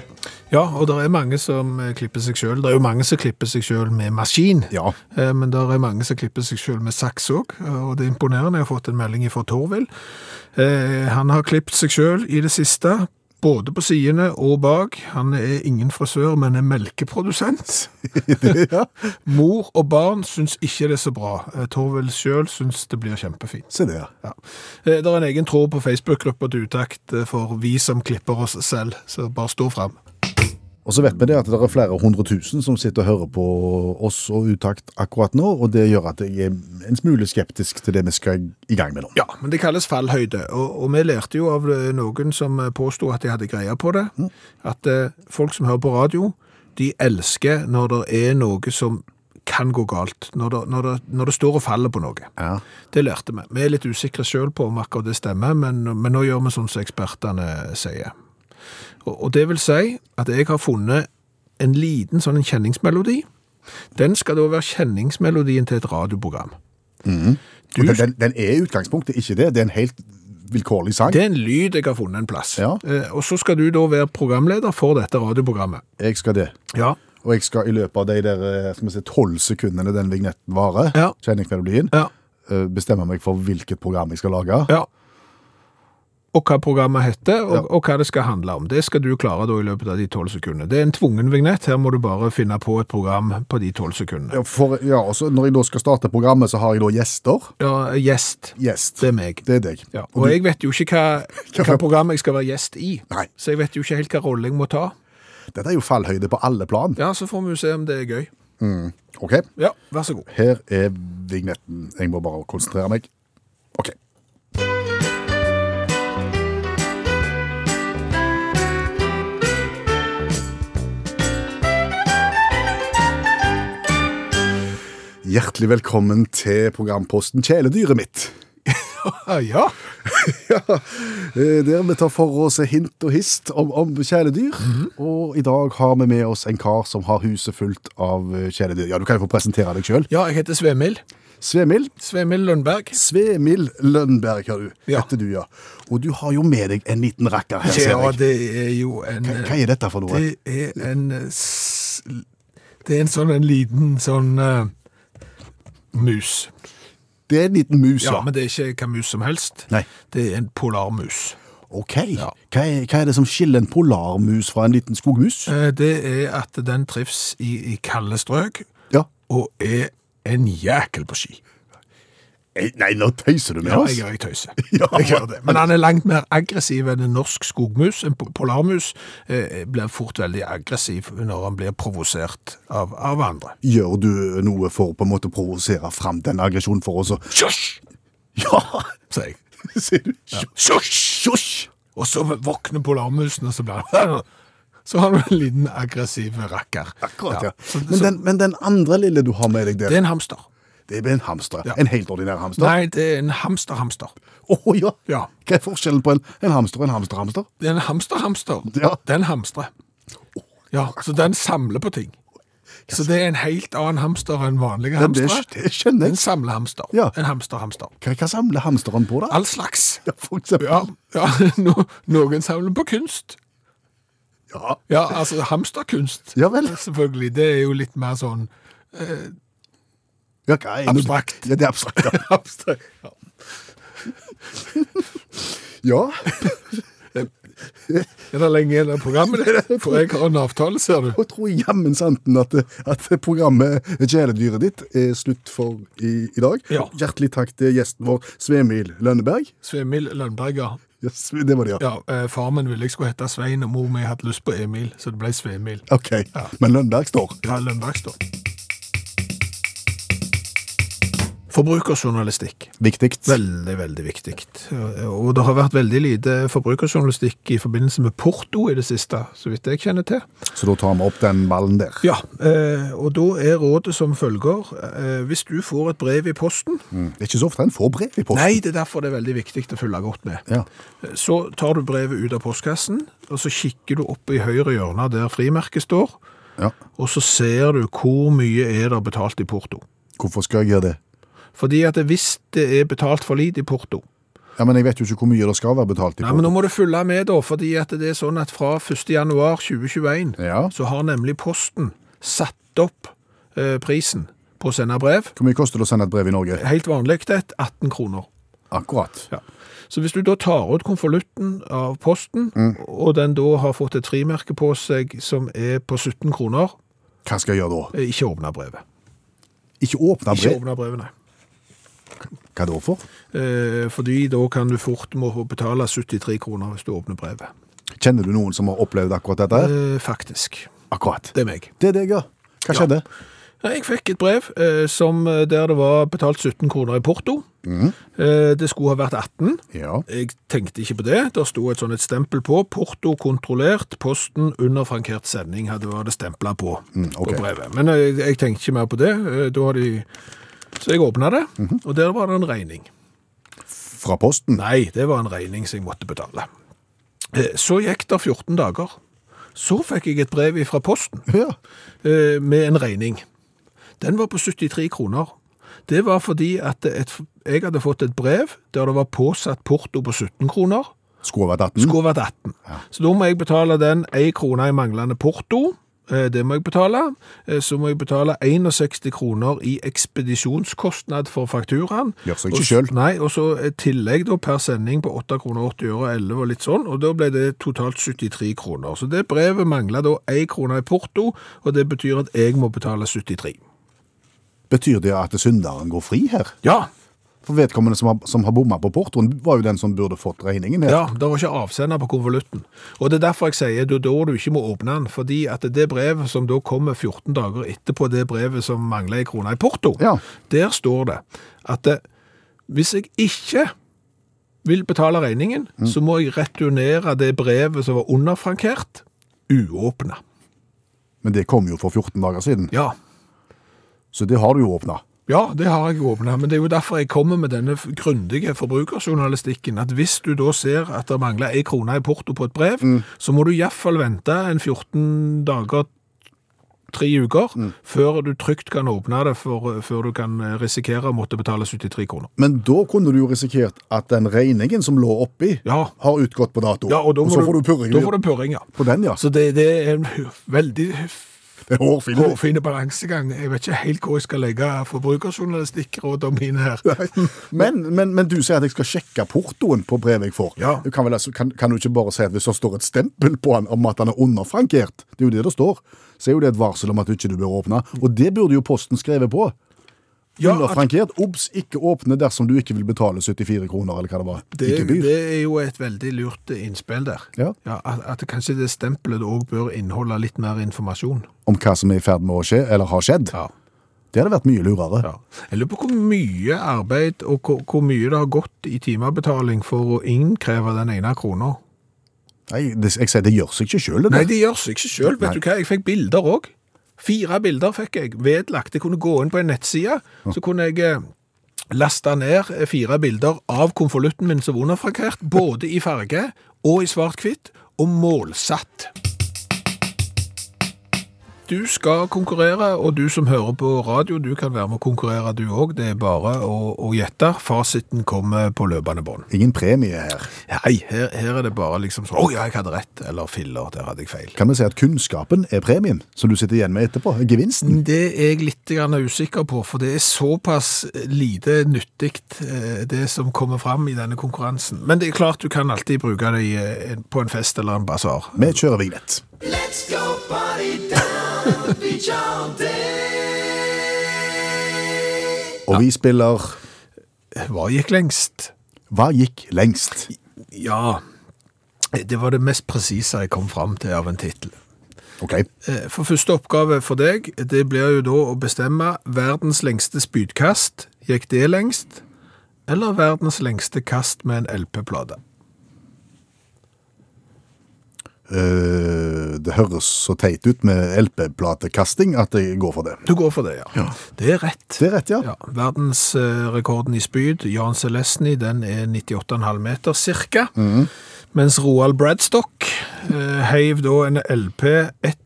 [SPEAKER 2] Ja, og det er mange som eh, klipper seg sjøl. Det er jo mange som klipper seg sjøl med maskin.
[SPEAKER 3] Ja.
[SPEAKER 2] Eh, Men det er mange som klipper seg sjøl med saks òg, og det er imponerende. Jeg har fått en melding fra Torvild. Eh, Han har klippet seg sjøl i det siste, både på sidene og bak. Han er ingen frisør, men er melkeprodusent. Mor og barn syns ikke det er så bra. Eh, Torvild sjøl syns det blir kjempefint.
[SPEAKER 3] Se der.
[SPEAKER 2] Ja. Eh, Det er en egen tråd på Facebook-gruppa til utakt eh, for vi som klipper oss selv, så bare stå fram.
[SPEAKER 3] Og så vet vi det at det er flere hundre tusen som sitter og hører på oss og Utakt akkurat nå, og det gjør at jeg er en smule skeptisk til det vi skal i gang med nå.
[SPEAKER 2] Ja, men det kalles fallhøyde, og, og vi lærte jo av eh, noen som eh, påstod at de hadde greia på det, at eh, folk som hører på radio, de elsker når det er noe som kan gå galt, når det, når det, når det står og faller på noe.
[SPEAKER 3] Ja.
[SPEAKER 2] Det lærte vi. Vi er litt usikre selv på om akkurat det stemmer, men, men nå gjør vi sånn som ekspertene sier. Og, og det vil si at jeg har funnet en liten sånn en kjenningsmelodi. Den skal da være kjenningsmelodien til et radioprogram.
[SPEAKER 3] Og Den, den, den er i utgangspunktet ikke det. Det er en helt vilkårlig sang.
[SPEAKER 2] Det er en lyd jeg har funnet en plass.
[SPEAKER 3] Ja.
[SPEAKER 2] Eh, og så skal du da være programleder for dette radioprogrammet.
[SPEAKER 3] Jeg skal det.
[SPEAKER 2] Ja.
[SPEAKER 3] Og jeg skal i løpet av de der eh, skal vi si, 12 sekundene den vignetten varer,
[SPEAKER 2] Ja.
[SPEAKER 3] kjenner jeg melodien,
[SPEAKER 2] Ja.
[SPEAKER 3] eh, bestemme meg for hvilket program jeg skal lage.
[SPEAKER 2] ja. Og hva programmet heter, og, og hva det skal handle om. Det skal du klare da i løpet av de tolv sekundene. Det er en tvungen vignett. Her må du bare finne på et program på de tolv sekundene.
[SPEAKER 3] Ja, For, ja, og så når jeg da skal starte programmet, så har jeg da gjester.
[SPEAKER 2] Ja, gjest.
[SPEAKER 3] Gjest.
[SPEAKER 2] Det er meg.
[SPEAKER 3] Det er deg.
[SPEAKER 2] Ja. Og jeg vet jo ikke hva, hva program jeg skal være gjest i.
[SPEAKER 3] Nei.
[SPEAKER 2] Så jeg vet jo ikke helt hva rolle jeg må ta.
[SPEAKER 3] Dette er jo fallhøyde på alle plan.
[SPEAKER 2] Ja, så får vi jo se om det er gøy.
[SPEAKER 3] Ok,
[SPEAKER 2] Ja, vær så god.
[SPEAKER 3] her er vignetten. Jeg må bare konsentrere meg. Ok. Hjertelig velkommen til programposten Kjæledyret mitt.
[SPEAKER 2] Ah, ja.
[SPEAKER 3] Eh, Der vi tar for oss hint og hist om, om kjæledyr.
[SPEAKER 2] Mhm.
[SPEAKER 3] Og i dag har vi med oss en kar som har huset fullt av eh, kjæledyr. Ja, du kan jo få presentere deg sjøl.
[SPEAKER 2] ja, jeg heter Svemil.
[SPEAKER 3] Svemil.
[SPEAKER 2] Svemil Lønberg.
[SPEAKER 3] Svemil Lønberg, hører du.
[SPEAKER 2] Ja.
[SPEAKER 3] Heter du, ja. Og du har jo med deg en liten rakker her, ser
[SPEAKER 2] Ja,
[SPEAKER 3] jeg.
[SPEAKER 2] det er jo en
[SPEAKER 3] Hva, hva er dette for noe?
[SPEAKER 2] Det er en eh, s- Det er en sånn en liten sånn eh, mus.
[SPEAKER 3] Det er en liten mus,
[SPEAKER 2] Ja,
[SPEAKER 3] ja.
[SPEAKER 2] men det er ikke hva mus som helst.
[SPEAKER 3] Nei.
[SPEAKER 2] Det er en polarmus.
[SPEAKER 3] Ok.
[SPEAKER 2] Ja.
[SPEAKER 3] Hva, er, hva er det som skiller en polarmus fra en liten skogmus?
[SPEAKER 2] Eh, Det er at den trives i, i kalde strøk
[SPEAKER 3] Ja.
[SPEAKER 2] og er en jækel på ski.
[SPEAKER 3] Eh, Nei, nå tøyser du med
[SPEAKER 2] Ja,
[SPEAKER 3] oss.
[SPEAKER 2] jeg gjør jeg tøyser.
[SPEAKER 3] Ja.
[SPEAKER 2] Jeg gjør det. Men han er langt mer aggressiv enn en norsk skogmus. En po- polarmus eh, blir fort veldig aggressiv når han blir provosert av, av andre.
[SPEAKER 3] Gjør du noe for på en måte å provosere fram den aggresjonen for oss? og-
[SPEAKER 2] Kjøsj!
[SPEAKER 3] Ja!
[SPEAKER 2] sier jeg.
[SPEAKER 3] Sier du? Sjosj!
[SPEAKER 2] Og så våkner polarmusen, og så blir han Så har du en liten aggressiv rakker.
[SPEAKER 3] Akkurat, ja.
[SPEAKER 2] Så,
[SPEAKER 3] Men
[SPEAKER 2] så,
[SPEAKER 3] den, men den andre lille du har med deg
[SPEAKER 2] det
[SPEAKER 3] der,
[SPEAKER 2] er en hamster.
[SPEAKER 3] det er en hamster.
[SPEAKER 2] Ja.
[SPEAKER 3] En helt ordinær hamster?
[SPEAKER 2] Nei, det er en hamsterhamster.
[SPEAKER 3] Å ja.
[SPEAKER 2] Ja.
[SPEAKER 3] Hva er forskjellen på en, en hamster og en hamsterhamster?
[SPEAKER 2] Det er en hamsterhamster.
[SPEAKER 3] Ja.
[SPEAKER 2] Den hamstrer. Ja, så den samler på ting. Så det er en helt annen hamster enn vanlige
[SPEAKER 3] Ja, det,
[SPEAKER 2] hamstere.
[SPEAKER 3] det skjønner
[SPEAKER 2] En
[SPEAKER 3] jeg.
[SPEAKER 2] samlehamster.
[SPEAKER 3] Ja.
[SPEAKER 2] En hamsterhamster.
[SPEAKER 3] Hva, hva samler hamsteren på, da?
[SPEAKER 2] All slags.
[SPEAKER 3] Ja, for eksempel.
[SPEAKER 2] Ja, ja no, noen samler på kunst.
[SPEAKER 3] Ja.
[SPEAKER 2] Ja, altså hamsterkunst.
[SPEAKER 3] Ja vel.
[SPEAKER 2] Selvfølgelig. Det er jo litt mer sånn
[SPEAKER 3] Ja, hva er-
[SPEAKER 2] Abstrakt.
[SPEAKER 3] Ja, det er abstrakt. Ja.
[SPEAKER 2] abstrakt.
[SPEAKER 3] ja.
[SPEAKER 2] Er det lenge igjen av programmet ditt? For jeg har en avtale, ser du.
[SPEAKER 3] Og tror jammen santen at, at programmet Kjæledyret ditt er slutt for i, i dag.
[SPEAKER 2] Ja.
[SPEAKER 3] Hjertelig takk til gjesten vår, Svemil Lønneberg.
[SPEAKER 2] Svemil Lønberg, ja.
[SPEAKER 3] Yes, det var det, ja.
[SPEAKER 2] ja eh, far min ville jeg skulle hete Svein, og mor mi hadde lyst på Emil, så det ble Svemil.
[SPEAKER 3] Ok, men Lønneberg står.
[SPEAKER 2] Ja, Lønberg står. Forbrukerjournalistikk.
[SPEAKER 3] Viktig.
[SPEAKER 2] Veldig, veldig viktig. Og det har vært veldig lite forbrukerjournalistikk i forbindelse med porto i det siste, så vidt jeg kjenner til.
[SPEAKER 3] Så da tar vi opp den ballen der.
[SPEAKER 2] Ja, eh, og da er rådet som følger. Eh, hvis du får et brev i posten
[SPEAKER 3] Det er ikke så ofte en får brev i posten.
[SPEAKER 2] Nei, det er derfor det er veldig viktig å følge godt med.
[SPEAKER 3] Ja.
[SPEAKER 2] Så tar du brevet ut av postkassen, og så kikker du opp i høyre hjørne der frimerket står,
[SPEAKER 3] Ja.
[SPEAKER 2] og så ser du hvor mye er det betalt i porto.
[SPEAKER 3] Hvorfor skal jeg gjøre det?
[SPEAKER 2] Fordi at hvis det er betalt for lite i porto,
[SPEAKER 3] Ja, men Jeg vet jo ikke hvor mye det skal være betalt i
[SPEAKER 2] Nei, men nå
[SPEAKER 3] posten.
[SPEAKER 2] må du følge med da, fordi at det er sånn at fra 1. januar 2021,
[SPEAKER 3] Ja.
[SPEAKER 2] så har nemlig posten satt opp eh, prisen på å sende brev.
[SPEAKER 3] Hvor mye koster det å sende et brev i Norge?
[SPEAKER 2] Helt vanlig det er 18 kroner.
[SPEAKER 3] Akkurat.
[SPEAKER 2] Så hvis du da tar ut konvolutten av posten, og den da har fått et frimerke på seg som er på 17 kroner,
[SPEAKER 3] Hva skal jeg gjøre da?
[SPEAKER 2] eh, ikke åpne brevet.
[SPEAKER 3] Ikke åpne
[SPEAKER 2] Ikke
[SPEAKER 3] brev?
[SPEAKER 2] åpne brevet, nei.
[SPEAKER 3] Hva da for?
[SPEAKER 2] Eh, fordi da kan du fort må betale 73 kroner hvis du åpner brevet.
[SPEAKER 3] Kjenner du noen som har opplevd akkurat dette? her?
[SPEAKER 2] Eh, faktisk.
[SPEAKER 3] Akkurat.
[SPEAKER 2] Det er meg.
[SPEAKER 3] Det er deg, ja. Hva skjedde?
[SPEAKER 2] Nei, Jeg fikk et brev eh, som, eh, der det var betalt 17 kroner i porto. Eh, det skulle ha vært 18.
[SPEAKER 3] Ja.
[SPEAKER 2] Jeg tenkte ikke på det. Der sto et sånn et stempel på. Porto kontrollert, posten under frankert sending hadde vært stempla på,
[SPEAKER 3] ok.
[SPEAKER 2] på brevet. Men eh, jeg, jeg tenkte ikke mer på det. Eh, Da har de... Så jeg åpna det, og der var det en regning.
[SPEAKER 3] Fra posten?
[SPEAKER 2] Nei, det var en regning som jeg måtte betale. Eh, Så gikk det 14 dager. Så fikk jeg et brev fra posten
[SPEAKER 3] Ja.
[SPEAKER 2] eh, med en regning. Den var på 73 kroner. Det var fordi at et, jeg hadde fått et brev der det var påsatt porto på 17 kroner,
[SPEAKER 3] Skulle ha vært 18?
[SPEAKER 2] skulle vært 18. Så da må jeg betale den 1 krone i manglende porto, Eh, Det må jeg betale. Eh, Så må jeg betale 61 kroner i ekspedisjonskostnad for fakturaen.
[SPEAKER 3] Gjør seg
[SPEAKER 2] Og
[SPEAKER 3] ikke
[SPEAKER 2] s-
[SPEAKER 3] selv.
[SPEAKER 2] Nei, og så et tillegg da per sending på 8 kroner 80 øre 11 og litt sånn, og da ble det totalt 73 kroner. Så det brevet manglet da 1 kroner i porto, og det betyr at jeg må betale 73.
[SPEAKER 3] Betyr det at synderen går fri her?
[SPEAKER 2] Ja,
[SPEAKER 3] For vedkommende som har, som har bomma på portoen, var jo den som burde fått regningen her.
[SPEAKER 2] Ja, det var ikke avsender på konvolutten. Og det er derfor jeg sier det er da du ikke må åpne den, fordi at det brevet som da kommer 14 dager etterpå det brevet som mangler en krone i porto,
[SPEAKER 3] Ja.
[SPEAKER 2] der står det at eh, hvis jeg ikke vil betale regningen, så må jeg returnere det brevet som var underfrankert, uåpna.
[SPEAKER 3] Men det kom jo for 14 dager siden,
[SPEAKER 2] Ja.
[SPEAKER 3] så det har du jo åpna.
[SPEAKER 2] Ja, det har jeg åpna, men det er jo derfor jeg kommer med denne f- grundige forbrukerjournalistikken. At hvis du da ser at det mangler ei krone i porto på et brev, så må du iallfall vente en 14 dager, tre uker, før du trygt kan åpne det, for, før du kan eh, risikere å måtte betale 73 kroner.
[SPEAKER 3] Men da kunne du jo risikert at den regningen som lå oppi,
[SPEAKER 2] Ja.
[SPEAKER 3] har utgått på dato.
[SPEAKER 2] Ja, og da må
[SPEAKER 3] så får du purring
[SPEAKER 2] Da får du purring, ja.
[SPEAKER 3] på den, ja.
[SPEAKER 2] Så det, det er en veldig
[SPEAKER 3] Det er hårfint.
[SPEAKER 2] hårfin balansegang. Jeg vet ikke helt hvor jeg skal legge forbrukerjournalistikkrådene mine her.
[SPEAKER 3] Men, men, men du sier at jeg skal sjekke portoen på brevet jeg får.
[SPEAKER 2] Ja.
[SPEAKER 3] Du kan, vel, altså- kan, kan du ikke bare si at hvis det står et stempel på den om at den er underfrankert, det er jo det det står, så er jo det et varsel om at du ikke du bør åpne. Og det burde jo Posten skrevet på.
[SPEAKER 2] Ja, at-
[SPEAKER 3] underfrankert. Obs, ikke åpne dersom du ikke vil betale 74 kroner, eller hva det var.
[SPEAKER 2] Det,
[SPEAKER 3] ikke byr.
[SPEAKER 2] det er jo et veldig lurt innspill der.
[SPEAKER 3] Ja.
[SPEAKER 2] at, at kanskje det stempelet òg bør inneholde litt mer informasjon.
[SPEAKER 3] Om hva som er i ferd med å skje, eller har skjedd.
[SPEAKER 2] Ja.
[SPEAKER 3] Det hadde vært mye lurere.
[SPEAKER 2] Jeg lurer på hvor mye arbeid og hvor, hvor mye det har gått i timebetaling for å innkreve den ene krona.
[SPEAKER 3] Nei, det, jeg sier det gjør seg ikke sjøl, det.
[SPEAKER 2] Nei,
[SPEAKER 3] der.
[SPEAKER 2] det gjør seg ikke sjøl. Vet
[SPEAKER 3] Nei.
[SPEAKER 2] du hva, jeg fikk bilder òg. Fire bilder fikk jeg vedlagt. Jeg kunne gå inn på en nettside, så kunne jeg eh, laste ned eh, fire bilder av konvolutten min som var underfrankert, både i farge og i svart-hvitt, og målsatt. Du skal konkurrere, og du som hører på radio, du kan være med å konkurrere du òg. Det er bare å å gjette. Fasiten kommer på løpende bånd.
[SPEAKER 3] Ingen premie her.
[SPEAKER 2] Nei, her, her er det bare liksom sånn Å ja, jeg hadde rett. Eller filler, der hadde jeg feil.
[SPEAKER 3] Kan vi si at kunnskapen er premien som du sitter igjen med etterpå? Gevinsten?
[SPEAKER 2] Det er jeg litt grann usikker på, for det er såpass lite nyttig eh, det som kommer fram i denne konkurransen. Men det er klart du kan alltid bruke det i, eh, på en fest eller en basar.
[SPEAKER 3] Vi kjører vignett.
[SPEAKER 6] Let's go party down the beach all day.
[SPEAKER 3] Og vi spiller
[SPEAKER 2] Hva gikk lengst?
[SPEAKER 3] Hva gikk lengst?
[SPEAKER 2] Ja, det var det mest presise jeg kom fram til av en tittel.
[SPEAKER 3] Ok,
[SPEAKER 2] Eh, For første oppgave for deg, det blir jo da å bestemme verdens lengste spydkast. Gikk det lengst? Eller verdens lengste kast med en LP-plate?
[SPEAKER 3] eh, det høres så teit ut med LP-platekasting at jeg går for det.
[SPEAKER 2] Du går for det, ja. Det er rett.
[SPEAKER 3] Det er rett, ja.
[SPEAKER 2] Ja, verdensrekorden i spyd, Jan Selesny, den er 98,5 meter cirka. Mens Roald Bradstock eh, heiv da en LP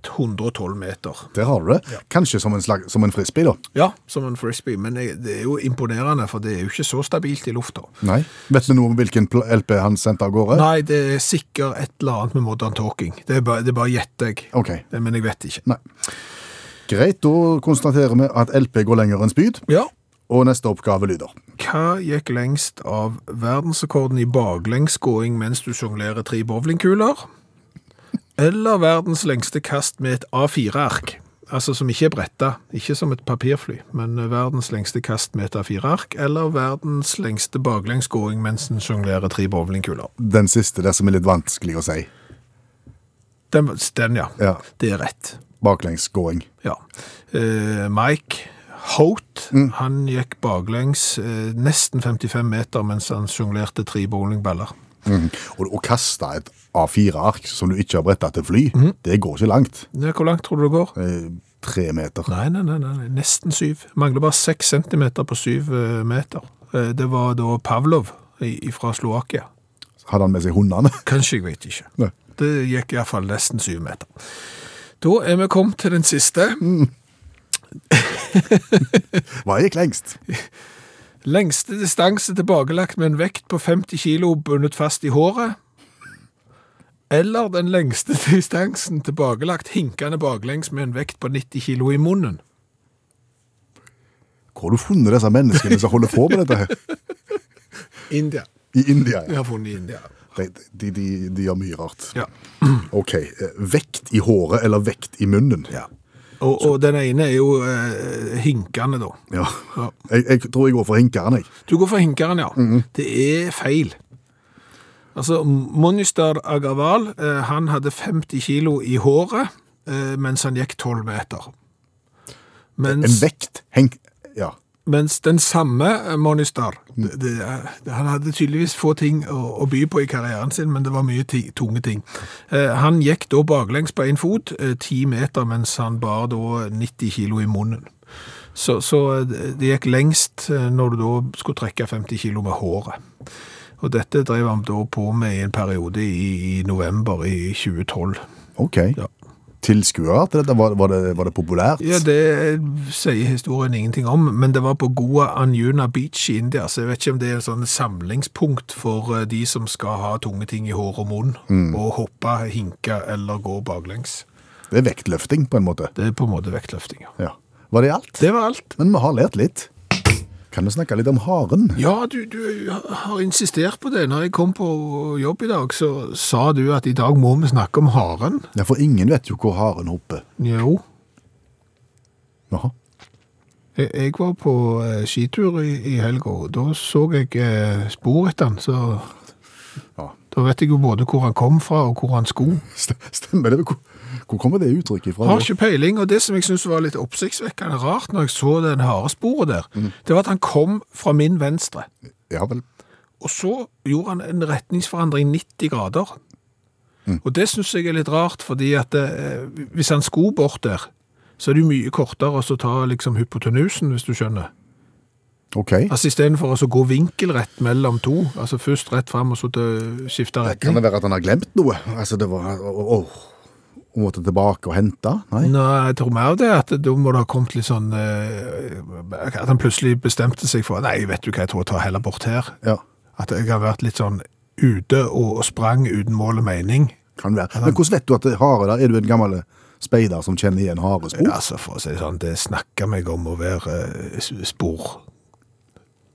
[SPEAKER 2] 112 meter.
[SPEAKER 3] Der har du det. Kanskje som en, slag, som en frisbee, da.
[SPEAKER 2] Ja, som en frisbee, men jeg- det er jo imponerende, for det er jo ikke så stabilt i lufta.
[SPEAKER 3] Nei. Vet du noe om hvilken pl- LP han sendte av gårde?
[SPEAKER 2] Nei, det er sikkert et eller annet med modern talking. Det er bare, det er bare gjetter jeg.
[SPEAKER 3] Ok.
[SPEAKER 2] Men jeg vet ikke.
[SPEAKER 3] Nei. Greit, da konstaterer vi at LP går lenger enn spyd,
[SPEAKER 2] Ja,
[SPEAKER 3] og neste oppgave lyder.
[SPEAKER 2] Hva gikk lengst av verdensrekorden i baklengsgåing mens du sjonglerer tre bowlingkuler? Eller verdens lengste kast med et A4-ark? Altså som ikke er bretta, ikke som et papirfly, men verdens lengste kast med et A4-ark, eller verdens lengste baklengsgåing mens en sjonglerer tre bowlingkuler?
[SPEAKER 3] Den siste, det som er litt vanskelig å si.
[SPEAKER 2] Den, den ja.
[SPEAKER 3] Ja.
[SPEAKER 2] Det er rett.
[SPEAKER 3] Baklengsgåing.
[SPEAKER 2] Ja. Eh, Mike Holt, han gikk baklengs eh, nesten 55 meter mens han sjonglerte tre bowlingballer.
[SPEAKER 3] Mhm. Og å kaste et A4-ark som du ikke har bretta til fly,
[SPEAKER 2] Mhm.
[SPEAKER 3] det går ikke langt.
[SPEAKER 2] Ja, hvor langt tror du det går?
[SPEAKER 3] Eh, tre meter.
[SPEAKER 2] Nei, nei, nei, nei, nesten syv. Mangler bare seks centimeter på syv eh, meter. Eh, Det var da Pavlov fra Slovakia.
[SPEAKER 3] Hadde han med seg hundene?
[SPEAKER 2] Kanskje, jeg vet ikke.
[SPEAKER 3] Nei.
[SPEAKER 2] Det gikk iallfall nesten syv meter. Da er vi kommet til den siste.
[SPEAKER 3] Hva gikk lengst?
[SPEAKER 2] Lengste distanse tilbakelagt med en vekt på 50 kilo bundet fast i håret. Eller den lengste distansen tilbakelagt hinkende baklengs med en vekt på 90 kilo i munnen.
[SPEAKER 3] Hvor har du funnet disse menneskene som holder på med dette her?
[SPEAKER 2] India.
[SPEAKER 3] I India?
[SPEAKER 2] Vi
[SPEAKER 3] Ja.
[SPEAKER 2] har funnet i India.
[SPEAKER 3] De, de, de, de gjør mye rart.
[SPEAKER 2] Ja.
[SPEAKER 3] OK. eh, Vekt i håret eller vekt i munnen?
[SPEAKER 2] ja. Og, og den ene er jo eh, hinkende, da.
[SPEAKER 3] Ja.
[SPEAKER 2] Ja.
[SPEAKER 3] Jeg, jeg tror jeg går for hinkeren, jeg.
[SPEAKER 2] Du går for hinkeren, ja. Det er feil. Altså, Monister Agarwal, eh, han hadde 50 kilo i håret eh, mens han gikk 12 meter.
[SPEAKER 3] En
[SPEAKER 2] Mens,
[SPEAKER 3] vekt henk... Ja.
[SPEAKER 2] mens den samme eh, Monister, det, det, eh, han hadde tydeligvis få ting å, å by på i karrieren sin, men det var mye ti, tunge ting. Eh, han gikk da baklengs på en fot, eh, 10 meter, mens han bar da 90 kilo i munnen. Så, så eh, det gikk lengst eh, når du da skulle trekke 50 kilo med håret. Og dette drev han da på med i en periode i, i november i 2012.
[SPEAKER 3] OK.
[SPEAKER 2] Ja.
[SPEAKER 3] Tilskuere til dette, var, var, det, var det populært?
[SPEAKER 2] Ja, det sier historien ingenting om, men det var på Goa Anjuna Beach i India, så jeg vet ikke om det er en sånn samlingspunkt for eh, de som skal ha tunge ting i hår og munn, og hoppe, hinke eller gå baklengs.
[SPEAKER 3] Det er vektløfting, på en måte.
[SPEAKER 2] Det er på en måte vektløftinger.
[SPEAKER 3] Ja. Var det alt?
[SPEAKER 2] Det var alt.
[SPEAKER 3] Men vi har lært litt. Kan vi snakke litt om haren?
[SPEAKER 2] Ja, du, du har insistert på det. Når jeg kom på jobb i dag, så sa du at i dag må vi snakke om haren.
[SPEAKER 3] Ja, for ingen vet jo hvor haren hopper.
[SPEAKER 2] Jo,
[SPEAKER 3] Jaha.
[SPEAKER 2] Jeg- Jeg var på eh, skitur i, i helga, og da så jeg eh, spor etter han, så
[SPEAKER 3] Ja.
[SPEAKER 2] da vet jeg jo både hvor han kom fra og hvor han skulle.
[SPEAKER 3] St- Stemmer det? Hvor, hvor kommer det uttrykket ifra?
[SPEAKER 2] Har
[SPEAKER 3] da?
[SPEAKER 2] ikke peiling, og det som jeg syntes var litt oppsiktsvekkende rart når jeg så den haresporet der,
[SPEAKER 3] Mhm.
[SPEAKER 2] det var at han kom fra min venstre,
[SPEAKER 3] Ja vel.
[SPEAKER 2] og så gjorde han en retningsforandring 90 grader.
[SPEAKER 3] Mhm.
[SPEAKER 2] Og det synes jeg er litt rart, fordi at eh, hvis han skulle bort der, så er det jo mye kortere å så ta liksom hypotenusen, hvis du skjønner.
[SPEAKER 3] OK.
[SPEAKER 2] Altså Istedenfor å så gå vinkelrett mellom to, altså først rett fram og så til- skifte
[SPEAKER 3] Kan
[SPEAKER 2] retning.
[SPEAKER 3] det være at han har glemt noe? Altså, det var Åh. Og måtte tilbake og hente? Nei?
[SPEAKER 2] Nei, jeg tror mer det at da må det ha kommet litt sånn eh, At han plutselig bestemte seg for Nei, vet du hva, jeg tror jeg tar heller bort her.
[SPEAKER 3] Ja.
[SPEAKER 2] At jeg har vært litt sånn ute og, og sprang uten mål og mening.
[SPEAKER 3] Kan være. Men hvordan vet du at det er hare der? Er du en gammel speider som kjenner igjen harespor?
[SPEAKER 2] Altså, for å si det sånn, det snakker meg om å være eh, s- spor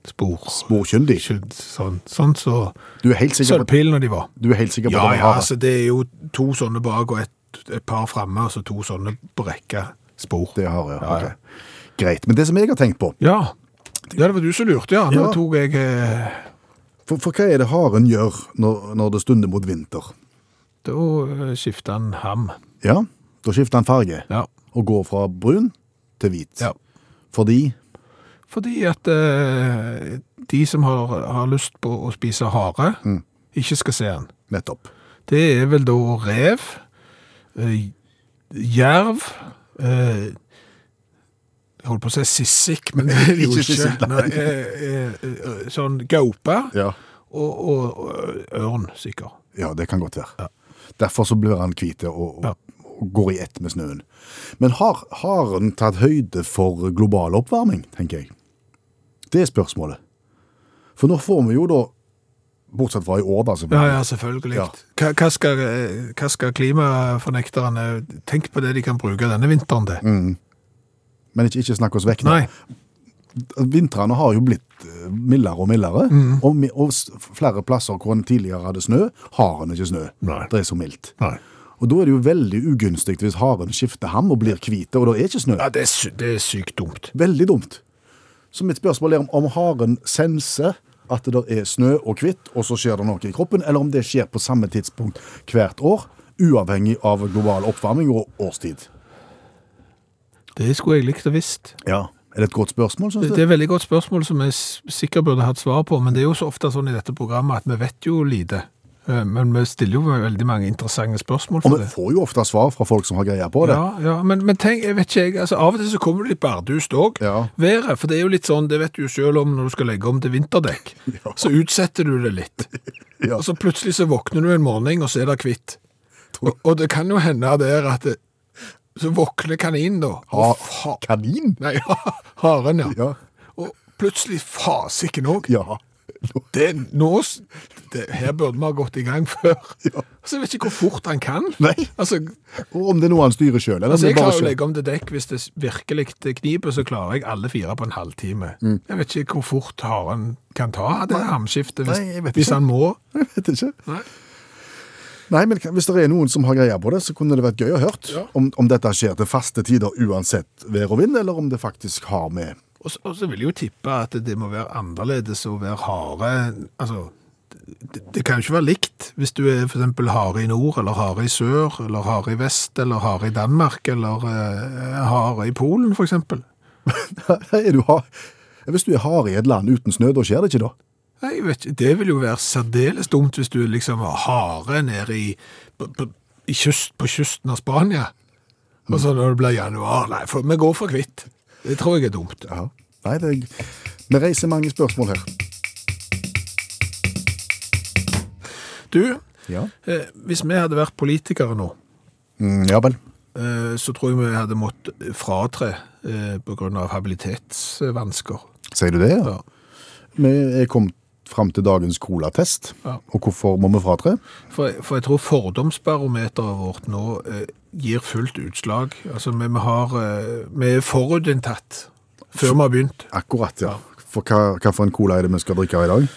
[SPEAKER 2] Spor
[SPEAKER 3] Sporkyndig?
[SPEAKER 2] Sånn sånn så
[SPEAKER 3] Du er helt sikker på,
[SPEAKER 2] Sølvpilene de var.
[SPEAKER 3] du er helt sikker på
[SPEAKER 2] Ja,
[SPEAKER 3] at det
[SPEAKER 2] ja,
[SPEAKER 3] var hare?
[SPEAKER 2] altså det er jo to sånne bak og et, et par fremme, og så to sånne på rekke spor.
[SPEAKER 3] Det er hare, ja.
[SPEAKER 2] Ja, ja.
[SPEAKER 3] ok. Greit. Men det som jeg har tenkt på
[SPEAKER 2] Ja. ja, det var du som lurte, ja. Nå
[SPEAKER 3] Ja.
[SPEAKER 2] tok jeg eh,
[SPEAKER 3] For, for hva er det haren gjør når, når det stunder mot vinter?
[SPEAKER 2] Da eh, skifta han ham.
[SPEAKER 3] Ja, da skifter han farge
[SPEAKER 2] Ja.
[SPEAKER 3] og går fra brun til hvit.
[SPEAKER 2] ja.
[SPEAKER 3] Fordi
[SPEAKER 2] Fordi at eh, de som har, har lyst på å spise hare,
[SPEAKER 3] Mm.
[SPEAKER 2] ikke skal se han.
[SPEAKER 3] Nettopp.
[SPEAKER 2] Det er vel da rev, eh, jerv eh, Jeg holdt på å si sissik, men det er det jo
[SPEAKER 3] Ikke
[SPEAKER 2] ikke.
[SPEAKER 3] sissik, nei.
[SPEAKER 2] Nei, eh, eh, eh, sånn gaupe
[SPEAKER 3] Ja.
[SPEAKER 2] og, og, og ørn, sikkert.
[SPEAKER 3] ja, det kan godt være. Derfor så blir han hvit og, og,
[SPEAKER 2] Ja.
[SPEAKER 3] og går i ett med snøen. Men har haren tatt høyde for global oppvarming, tenker jeg? Det er spørsmålet. For nå får vi jo da, bortsett fra i år da,
[SPEAKER 2] Ja,
[SPEAKER 3] selvfølgelig.
[SPEAKER 2] ja, selvfølgelig.
[SPEAKER 3] Ja.
[SPEAKER 2] Hva, hva, skal, eh, hva skal klimafornekterne tenke på det de kan bruke denne vinteren til?
[SPEAKER 3] men ikke, ikke snakk oss vekk nå.
[SPEAKER 2] Nei,
[SPEAKER 3] vintrene har jo blitt eh, mildere og mildere,
[SPEAKER 2] Mm.
[SPEAKER 3] og, mi- og s- flere plasser hvor en tidligere hadde snø, har en ikke snø.
[SPEAKER 2] Nei.
[SPEAKER 3] Det er så mildt.
[SPEAKER 2] Nei.
[SPEAKER 3] Og da er det jo veldig ugunstig hvis haren skifter ham og blir hvite, og det er ikke snø.
[SPEAKER 2] Ja, det er, sy det er sykt dumt.
[SPEAKER 3] Veldig dumt. Så mitt spørsmål er om, om haren senser at det er snø og hvitt, og så skjer det noe i kroppen, eller om det skjer på samme tidspunkt hvert år, uavhengig av global oppvarming og årstid.
[SPEAKER 2] Det skulle jeg likt å visst.
[SPEAKER 3] Ja. Er det et godt spørsmål,
[SPEAKER 2] Det
[SPEAKER 3] synes du?
[SPEAKER 2] det er et veldig godt spørsmål som jeg s- sikkert burde hatt svar på, men det er jo så ofte sånn i dette programmet at vi vet jo lite. Eh, Men vi stiller jo veldig mange interessante spørsmål
[SPEAKER 3] Og
[SPEAKER 2] for
[SPEAKER 3] vi
[SPEAKER 2] det.
[SPEAKER 3] får jo ofte svar fra folk som har greie på det.
[SPEAKER 2] Ja, ja, men, men tenk, jeg vet ikke jeg, altså av og til så kommer det litt bardust òg.
[SPEAKER 3] Ja.
[SPEAKER 2] Været, for det er jo litt sånn, det vet du jo sjøl om når du skal legge om til vinterdekk. Så utsetter du det litt.
[SPEAKER 3] Ja.
[SPEAKER 2] Og så plutselig så våkner du en morgen, og så er det kvitt. Og, og det kan jo hende der at det, Så våkner kaninen, da.
[SPEAKER 3] Ha,
[SPEAKER 2] Og fa-
[SPEAKER 3] kanin?
[SPEAKER 2] Nei, haren, ja.
[SPEAKER 3] Ja.
[SPEAKER 2] Og plutselig fasiken òg.
[SPEAKER 3] Ja.
[SPEAKER 2] Det, nå, s- det, her burde vi ha gått i gang før. Altså, jeg vet ikke hvor fort han kan.
[SPEAKER 3] Nei.
[SPEAKER 2] Altså,
[SPEAKER 3] Og om det er noe han styrer sjøl, eller om
[SPEAKER 2] altså,
[SPEAKER 3] det
[SPEAKER 2] jeg
[SPEAKER 3] bare
[SPEAKER 2] klarer å
[SPEAKER 3] skjer.
[SPEAKER 2] legge om til dekk hvis det s- virkelig kniper, så klarer jeg alle fire på en halvtime.
[SPEAKER 3] Mm.
[SPEAKER 2] Jeg vet ikke hvor fort haren kan ta det hamskiftet hvis,
[SPEAKER 3] Nei, jeg vet
[SPEAKER 2] hvis
[SPEAKER 3] ikke.
[SPEAKER 2] han må.
[SPEAKER 3] Jeg vet ikke.
[SPEAKER 2] Nei.
[SPEAKER 3] Nei, men Hvis det er noen som har greie på det, så kunne det vært gøy å hørt om, om dette skjer til faste tider uansett vær og vind, eller om det faktisk har med
[SPEAKER 2] Og så, og så vil jeg jo tippe at det må være annerledes å være hare. Altså, det, det kan jo ikke være likt hvis du er for eksempel hare i nord, eller hare i sør, eller hare i vest, eller hare i Danmark, eller eh, hare i Polen, for eksempel.
[SPEAKER 3] er du har... Hvis du er hard i et land uten snø, da skjer det ikke da?
[SPEAKER 2] Nei, jeg vet ikke, det vil jo være særdeles dumt hvis du liksom har hare nede i, på, på, i kyst, på kysten av Spania. Og så når det blir januar, nei, for, vi går for kvitt. Mm. Det tror jeg er dumt.
[SPEAKER 3] Ja. Nei, det er... Vi reiser mange spørsmål her.
[SPEAKER 2] Du,
[SPEAKER 3] Ja,
[SPEAKER 2] eh, hvis vi hadde vært politikere nå,
[SPEAKER 3] mm, ja vel.
[SPEAKER 2] eh, så tror jeg vi hadde måttet fratre eh, på grunn av habilitetsvansker.
[SPEAKER 3] Sier du det? Ja.
[SPEAKER 2] Ja.
[SPEAKER 3] Vi er kommet fram til dagens colatest.
[SPEAKER 2] Ja.
[SPEAKER 3] Og hvorfor må vi fratre?
[SPEAKER 2] For, for jeg tror fordomsbarometeret vårt nå eh, gir fullt utslag. Altså, vi, vi, har, eh, vi er forutinntatt før vi har begynt.
[SPEAKER 3] Akkurat, ja. For hva, hva for en cola er det vi skal drikke i dag?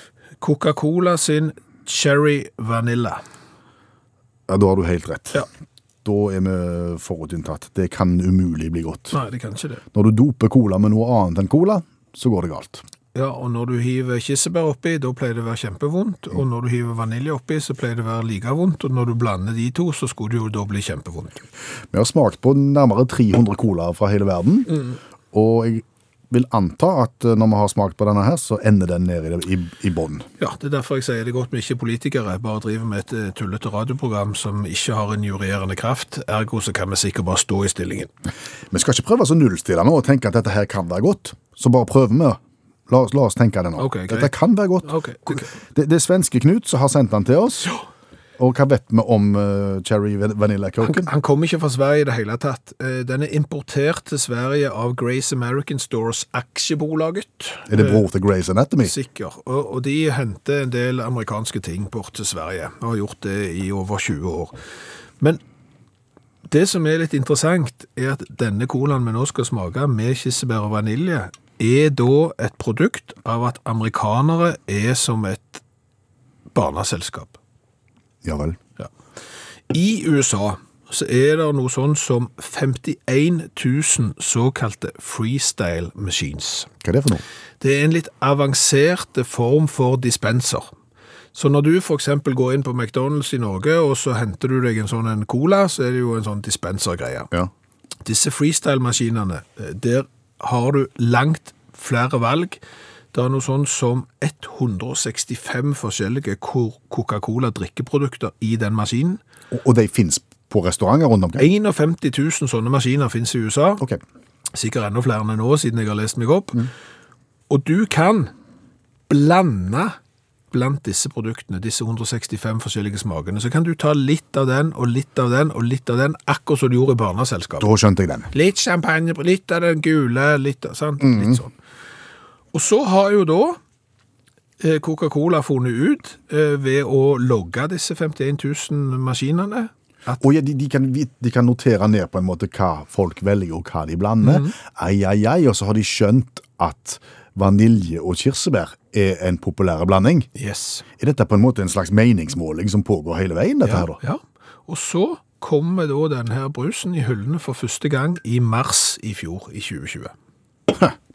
[SPEAKER 2] Coca-Cola sin Cherry Vanilla.
[SPEAKER 3] Ja, Da har du helt rett.
[SPEAKER 2] Ja.
[SPEAKER 3] Da er vi forutinntatt. Det kan umulig bli godt.
[SPEAKER 2] Nei, det kan ikke det.
[SPEAKER 3] Når du doper cola med noe annet enn cola, så går det galt.
[SPEAKER 2] Ja, og når du hiver kirsebær oppi, da pleier det å være kjempevondt. Og når du hiver vanilje oppi, så pleier det å være like vondt. Og når du blander de to, så skulle det jo da bli kjempevondt.
[SPEAKER 3] Vi har smakt på nærmere 300 colaer fra hele verden. Og jeg vil anta at eh, når vi har smakt på denne her, så ender den nede i, i, i bånn.
[SPEAKER 2] Ja, det er derfor jeg sier det er godt vi ikke er politikere, bare driver med et eh, tullete radioprogram som ikke har en jurerende kraft. Ergo så kan vi sikkert bare stå i stillingen.
[SPEAKER 3] Vi skal ikke prøve oss å nullstille nå og tenke at dette her kan være godt. Så bare prøver vi. La oss, la oss tenke det nå.
[SPEAKER 2] Ok, greit.
[SPEAKER 3] dette kan være godt.
[SPEAKER 2] Ok, ok.
[SPEAKER 3] Det, det er svenske Knut som har sendt den til oss. Og hva vet vi om eh, cherry van- vanilla coke?
[SPEAKER 2] Han kom ikke fra Sverige i det hele tatt. Eh, Den er importert til Sverige av Grace American Stores aksjebolaget.
[SPEAKER 3] Er det
[SPEAKER 2] Eh.
[SPEAKER 3] bror til Grey's Anatomy?
[SPEAKER 2] Sikker. Og, og de henter en del amerikanske ting bort til Sverige, og har gjort det i over 20 år. Men det som er litt interessant, er at denne colaen vi nå skal smake, med kirsebær og vanilje, er da et produkt av at amerikanere er som et barneselskap.
[SPEAKER 3] Ja vel.
[SPEAKER 2] I USA så er det noe sånn som 51 000 såkalte freestyle machines.
[SPEAKER 3] Hva er det for noe?
[SPEAKER 2] Det er en litt avansert form for dispenser. Så når du for eksempel går inn på McDonalds i Norge, og så henter du deg en sånn en cola, så er det jo en sånn dispensergreie.
[SPEAKER 3] Ja.
[SPEAKER 2] Disse freestyle-maskinene, eh, der har du langt flere valg. Det er noe sånn som 165 forskjellige Co- Coca-Cola-drikkeprodukter i den maskinen.
[SPEAKER 3] Og, og de fins på restauranter rundt omkring?
[SPEAKER 2] 51 000 sånne maskiner finnes i USA.
[SPEAKER 3] Ok.
[SPEAKER 2] sikkert enda flere enn nå, siden jeg har lest meg opp. Og du kan blande blant disse produktene, disse 165 forskjellige smakene, så kan du ta litt av den, og litt av den, og litt av den, akkurat som du gjorde i barneselskapet.
[SPEAKER 3] Da skjønte jeg den.
[SPEAKER 2] Litt champagne, litt av den gule, litt, av- sant? litt sånn. Og så har jo da eh, Coca-Cola funnet ut, eh, ved å logge disse 51 000 maskinene, at
[SPEAKER 3] Og ja, de, de, kan, vit- de kan notere ned på en måte hva folk velger, og hva de blander.
[SPEAKER 2] Mhm.
[SPEAKER 3] Ai, ai, ai. Og så har de skjønt at vanilje og kirsebær er en populær blanding.
[SPEAKER 2] yes,
[SPEAKER 3] Er dette på en måte en slags meningsmåling som pågår hele veien? dette her da?
[SPEAKER 2] Ja. Og så kommer da denne brusen i hyllene for første gang i mars i fjor, i 2020.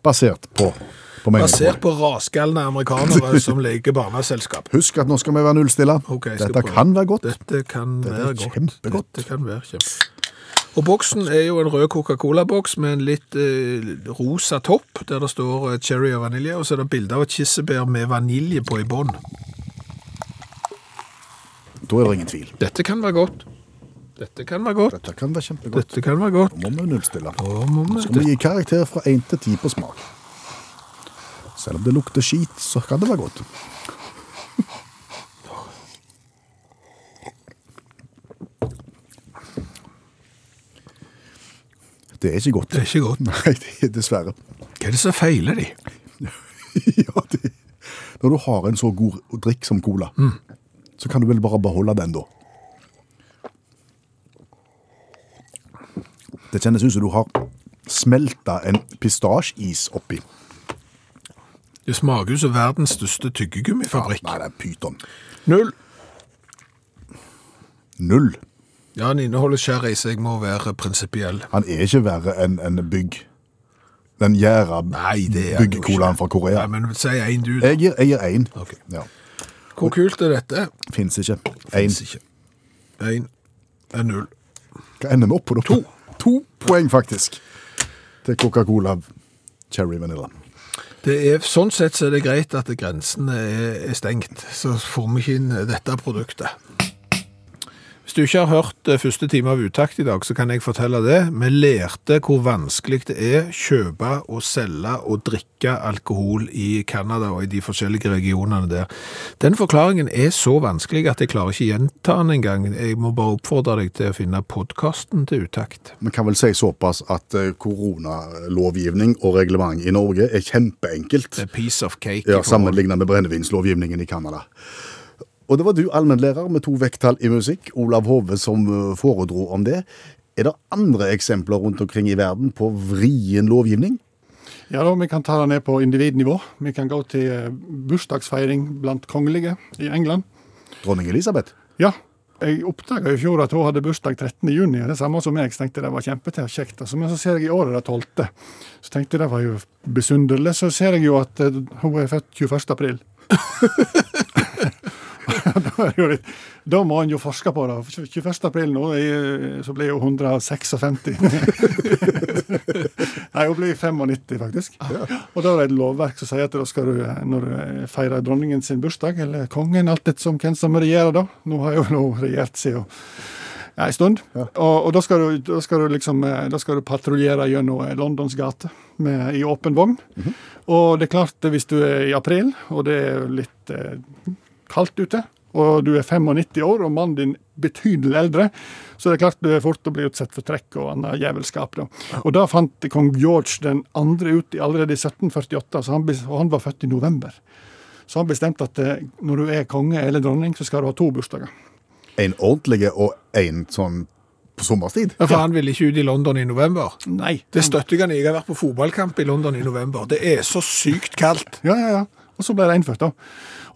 [SPEAKER 3] Basert på, på meningsmåling.
[SPEAKER 2] Basert på rasgalne amerikanere som leker barneselskap.
[SPEAKER 3] Husk at nå skal vi være nullstille.
[SPEAKER 2] Ok, jeg skal
[SPEAKER 3] dette
[SPEAKER 2] prøve.
[SPEAKER 3] kan være godt.
[SPEAKER 2] Dette kan
[SPEAKER 3] er
[SPEAKER 2] være godt.
[SPEAKER 3] kjempegodt.
[SPEAKER 2] Dette kan være kjempe. Og boksen er jo en rød Coca-Cola-boks med en litt eh, rosa topp, der det står eh, cherry og vanilje, og så er det bilde av et kirsebær med vanilje på i bånn.
[SPEAKER 3] Da er det ingen tvil.
[SPEAKER 2] Dette kan være godt. Dette kan være godt.
[SPEAKER 3] Dette kan være kjempegodt.
[SPEAKER 2] Dette kan være godt.
[SPEAKER 3] Nå må vi nullstille.
[SPEAKER 2] Å, mamma,
[SPEAKER 3] Så skal vi gi karakter fra 1 til 10 på smak. Selv om det lukter skit, så kan det være godt. Det er ikke godt.
[SPEAKER 2] Det er ikke godt.
[SPEAKER 3] Nei, det er dessverre.
[SPEAKER 2] Hva er det som feiler de?
[SPEAKER 3] ja, det, Når du har en så god drikk som cola, så kan du vel bare beholde den, da. Det kjennes ut som du har smelta en pistasjeis oppi.
[SPEAKER 2] Det smaker jo som verdens største tyggegummifabrikk.
[SPEAKER 3] Nei, det er pyton.
[SPEAKER 2] Null.
[SPEAKER 3] Null.
[SPEAKER 2] Ja, den inneholder sherry, så jeg må være prinsipiell.
[SPEAKER 3] Han er ikke verre enn en bygg. Den gjæra
[SPEAKER 2] Nei, det er han jo
[SPEAKER 3] byggekolaen
[SPEAKER 2] ikke.
[SPEAKER 3] fra Korea.
[SPEAKER 2] Nei, men si én, du.
[SPEAKER 3] Jeg gir- jeg gir én.
[SPEAKER 2] Ok.
[SPEAKER 3] Ja.
[SPEAKER 2] Hvor kult er dette?
[SPEAKER 3] Fins ikke. Én.
[SPEAKER 2] Fins ikke. Én er null.
[SPEAKER 3] Hva ender vi opp på? da? To. poeng, faktisk, til Coca-Cola Cherry Vanilla.
[SPEAKER 2] Det er, sånn sett så er det greit at grensene er, er stengt, så får vi ikke inn dette produktet. Hvis du ikke har hørt eh, første time av Utakt i dag, så kan jeg fortelle det. Vi lærte hvor vanskelig det er kjøpe og selge og drikke alkohol i Canada og i de forskjellige regionene der. Den forklaringen er så vanskelig at jeg klarer ikke gjenta den engang. Jeg må bare oppfordre deg til å finne podkasten til Utakt.
[SPEAKER 3] Vi kan vel si såpass at eh, koronalovgivning og reglement i Norge er kjempeenkelt.
[SPEAKER 2] A piece of cake. i
[SPEAKER 3] Ja,
[SPEAKER 2] forhold-
[SPEAKER 3] Sammenlignet med brennevinslovgivningen i Canada. Og det var du, allmennlærer med to vekttall i musikk, Olav Hove, som eh, foredro om det. Er det andre eksempler rundt omkring i verden på vrien lovgivning?
[SPEAKER 5] Ja da, Vi kan ta det ned på individnivå. Vi kan gå til eh, bursdagsfeiring blant kongelige i England.
[SPEAKER 3] Dronning Elisabeth?
[SPEAKER 5] Ja, jeg oppdaga i fjor at hun hadde bursdag 13.6. Det samme som meg. Så tenkte jeg det var kjempete- kjekt. Altså, men så ser jeg i året det 12. Så tenkte jeg det var jo besynderlig. Så ser jeg jo at eh, hun er født 21. april. da, er det jo litt, da må en jo forske på det. 21. april nå, er- så blir hun 156. Nei, hun blir 95, faktisk. Og da er det et lovverk som sier at da skal du, eh, når du eh, feirer dronningen sin bursdag, eller kongen, alt etter som hvem som regjerer, da. Nå har jo hun regjert siden ja, en stund. Og, og da skal du, da skal du liksom eh, da skal du patruljere gjennom eh, Londons gater med- i åpen vogn. Og det er klart, eh, hvis du er i april, og det er litt eh, kaldt ute, og du er 95 år og mannen din betydelig eldre, så det er klart du er fort å bli utsatt for trekk og annet jævelskap. Da. Og da fant kong George den andre ut i- allerede i 1748, så han, bes- og han var født i november. Så han bestemte at eh, når du er konge eller dronning, så skal du ha to bursdager.
[SPEAKER 3] En ordentlig og en sånn på sommerstid?
[SPEAKER 2] Ja, for han ville ikke ut i London i november.
[SPEAKER 5] Nei.
[SPEAKER 2] Det støtter jeg han i. Jeg har vært på fotballkamp i London i november. Det er så sykt kaldt.
[SPEAKER 5] Ja, ja, ja. Og så ble det innført, da.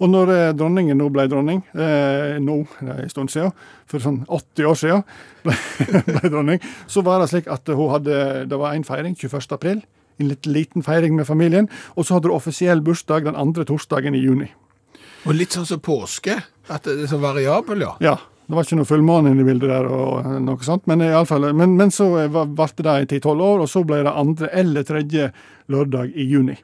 [SPEAKER 5] Og når eh, dronningen nå ble dronning, eh, nå det er en stund siden, for sånn 80 år siden, ble, ble dronning, så var det slik at hun hadde, det var en feiring 21. april, en litt liten feiring med familien, og så hadde du offisiell bursdag den andre torsdagen i juni.
[SPEAKER 2] Og litt sånn som påske. At det er så variabel, ja.
[SPEAKER 5] Ja, det var ikke noe fullmåne inne i bildet der, og eh, noe sånt, men, i alle fall, men, men så eh, var- varte det i 10-12 år, og så ble det andre eller tredje lørdag i juni.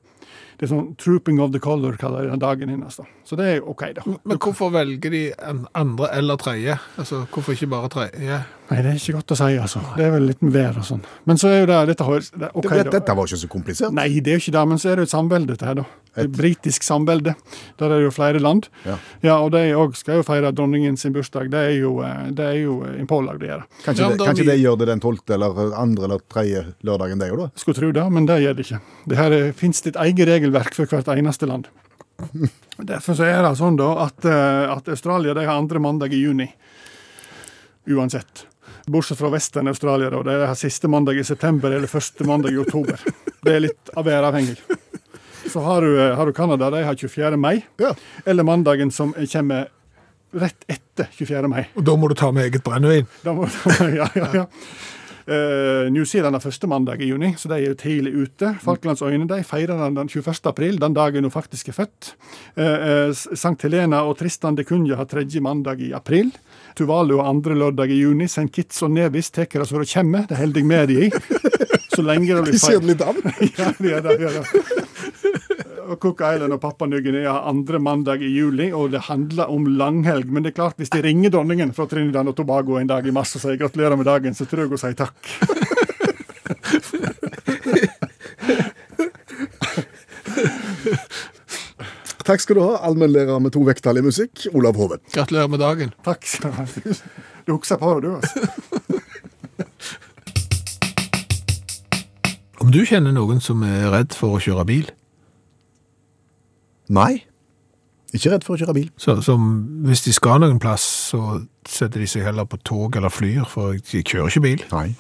[SPEAKER 5] Det er sånn 'trooping of the color', kaller de den dagen hennes. da. Så det er OK, da.
[SPEAKER 2] Men hvorfor velger de en andre eller tredje? Altså, hvorfor ikke bare tredje?
[SPEAKER 5] Nei, det er ikke godt å si, altså. Det er vel litt med vær og sånn. Men så er jo det dette har, det, ok,
[SPEAKER 3] Det-
[SPEAKER 5] da.
[SPEAKER 3] Dette var ikke så komplisert.
[SPEAKER 5] Nei, det er jo ikke det, men så er det jo et samvelde, dette her, da. Et britisk samvelde. Der er det jo flere land.
[SPEAKER 3] Ja.
[SPEAKER 5] og de òg skal jo feire dronningen sin bursdag. Det er jo, eh, det er jo en pålagd å gjøre.
[SPEAKER 3] Kanskje,
[SPEAKER 2] Ja, men
[SPEAKER 3] det,
[SPEAKER 2] da
[SPEAKER 3] kanskje
[SPEAKER 2] vi-
[SPEAKER 3] det gjør det den 12. eller andre eller tredje lørdagen, det òg, da?
[SPEAKER 5] Skulle tro det, men det gjør det ikke. Det her fins ditt eget regelverk for hvert eneste land. Derfor så er det sånn da at, eh, at Australia de har andre mandag i juni. Uansett. Bortsett fra Western Australia, da. De har siste mandag i september eller første mandag i oktober. Det er litt av væravhengig. Så har du, eh, har du Canada, de har 24. mai.
[SPEAKER 3] Ja.
[SPEAKER 5] Eller mandagen som kommer rett etter 24. mai.
[SPEAKER 2] Og da må du ta med eget brennevin.
[SPEAKER 5] Da må, ja, ja, ja. Eh, New Zealand er første mandag i juni, så de er jo tidlig ute. Falklandsøyene de feirer den den 21. april, den dagen hun faktisk er født. Eh, eh, S- Sankt Helena og Tristan de Cunha har tredje mandag i april. Tuvalu har andre lørdag i juni. St. Kitts og Nevis tar det så det kommer, det holder jeg med de i. Så lenge det blir feil. Ja, de er det, de er det. Og Cook Island og Papua Ny-Guinea har andre mandag i juli, og det handler om langhelg. Men det er klart, hvis de ringer dronningen fra Trinidad og Tobago en dag i mars og sier gratulerer med dagen, så tror jeg hun sier takk.
[SPEAKER 3] Takk skal du ha, allmennlærer med to vekttall i musikk, Olav Hove.
[SPEAKER 2] Gratulerer med dagen.
[SPEAKER 5] Takk skal du ha. Du husker på det, du, altså.
[SPEAKER 2] Om du kjenner noen som er redd for å kjøre bil?
[SPEAKER 3] Nei. Ikke redd for å kjøre bil.
[SPEAKER 2] Så, som hvis de skal noen plass, så setter de seg heller på tog eller flyer, for de kjører ikke bil.
[SPEAKER 3] Nei.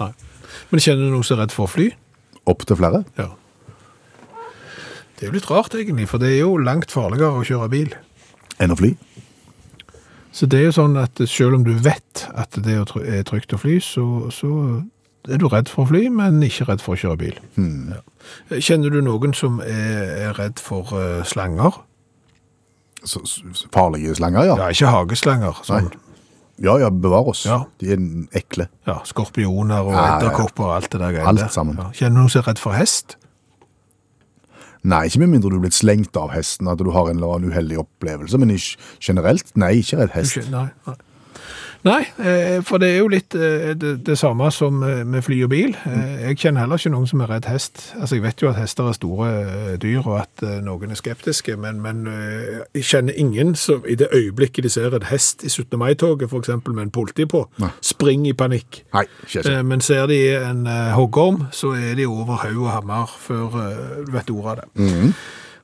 [SPEAKER 2] Men kjenner du noen som er redd for å fly?
[SPEAKER 3] Opp til flere.
[SPEAKER 2] Ja. Det er jo litt rart, egentlig, for det er jo langt farligere å kjøre bil.
[SPEAKER 3] Enn å fly.
[SPEAKER 2] Så det er jo sånn at selv om du vet at det er try- er trygt å fly, så, så er du redd for å fly, men ikke redd for å kjøre bil.
[SPEAKER 3] Hmm.
[SPEAKER 2] Ja. Kjenner du noen som er, er redd for eh, slanger?
[SPEAKER 3] Så, s- s- farlige slanger, ja.
[SPEAKER 2] Ja, ikke hageslanger, sånn.
[SPEAKER 3] Ja ja, bevare oss.
[SPEAKER 2] Ja.
[SPEAKER 3] De er ekle.
[SPEAKER 2] Ja, skorpioner og
[SPEAKER 3] Ja, ja, ja.
[SPEAKER 2] edderkopper og alt det der. greiene
[SPEAKER 3] Alt
[SPEAKER 2] der.
[SPEAKER 3] sammen.
[SPEAKER 2] Ja. Kjenner du noen som er redd for hest?
[SPEAKER 3] Nei, ikke med mindre du er blitt slengt av hesten, at du har en eller annen uheldig opplevelse, men ikke, generelt, nei, ikke redd hest.
[SPEAKER 2] Unnskyld, Nei, nei. Nei, eh, for det er jo litt eh, det, det samme som eh, med fly og bil. Eh, Jeg kjenner heller ikke noen som er redd hest. Altså, Jeg vet jo at hester er store eh, dyr, og at eh, noen er skeptiske, men, men eh, jeg kjenner ingen som i det øyeblikket de ser en hest i 17. mai-toget, f.eks. med en politi på,
[SPEAKER 3] Nei.
[SPEAKER 2] springer i panikk.
[SPEAKER 3] Nei, ikke
[SPEAKER 2] Eh,
[SPEAKER 3] sant.
[SPEAKER 2] Men ser de en eh, hoggorm, så er de over haug og hammer før eh, du vet ordet av det.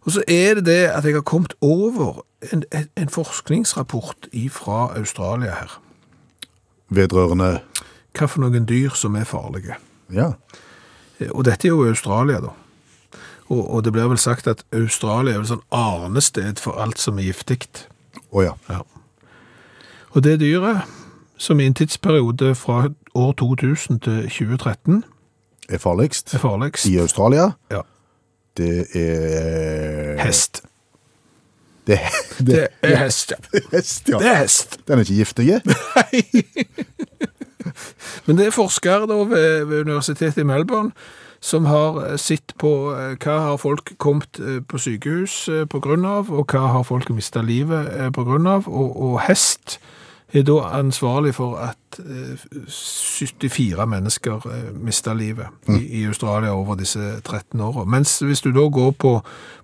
[SPEAKER 2] Og så er det det at jeg har kommet over en, en, en forskningsrapport fra Australia her.
[SPEAKER 3] Eh. Vedrørende
[SPEAKER 2] Hva for noen dyr som er farlige.
[SPEAKER 3] Ja.
[SPEAKER 2] Eh, Og dette er jo Australia, da. Og, og det blir vel sagt at Australia er vel sånn arnested for alt som er giftig.
[SPEAKER 3] Å ja.
[SPEAKER 2] Ja. Og det dyret, som i en tidsperiode fra år 2000 til 2013
[SPEAKER 3] Er farligst
[SPEAKER 2] er farligst
[SPEAKER 3] i Australia.
[SPEAKER 2] Ja.
[SPEAKER 3] Det er
[SPEAKER 2] Hest.
[SPEAKER 3] Det, det,
[SPEAKER 2] Det er hest, ja.
[SPEAKER 3] er hest, ja.
[SPEAKER 2] Det er hest.
[SPEAKER 3] Den er ikke giftig.
[SPEAKER 2] Men det er forskere da ved, ved Universitetet i Melbourne som har eh, sett på eh, hva har folk kommet eh, på sykehus eh, på grunn av, og hva har folk mistet livet eh, på grunn av, og, og hest er da ansvarlig for at eh, 74 mennesker eh, mistet livet i, i Australia over disse 13 årene. Mens hvis du da går på,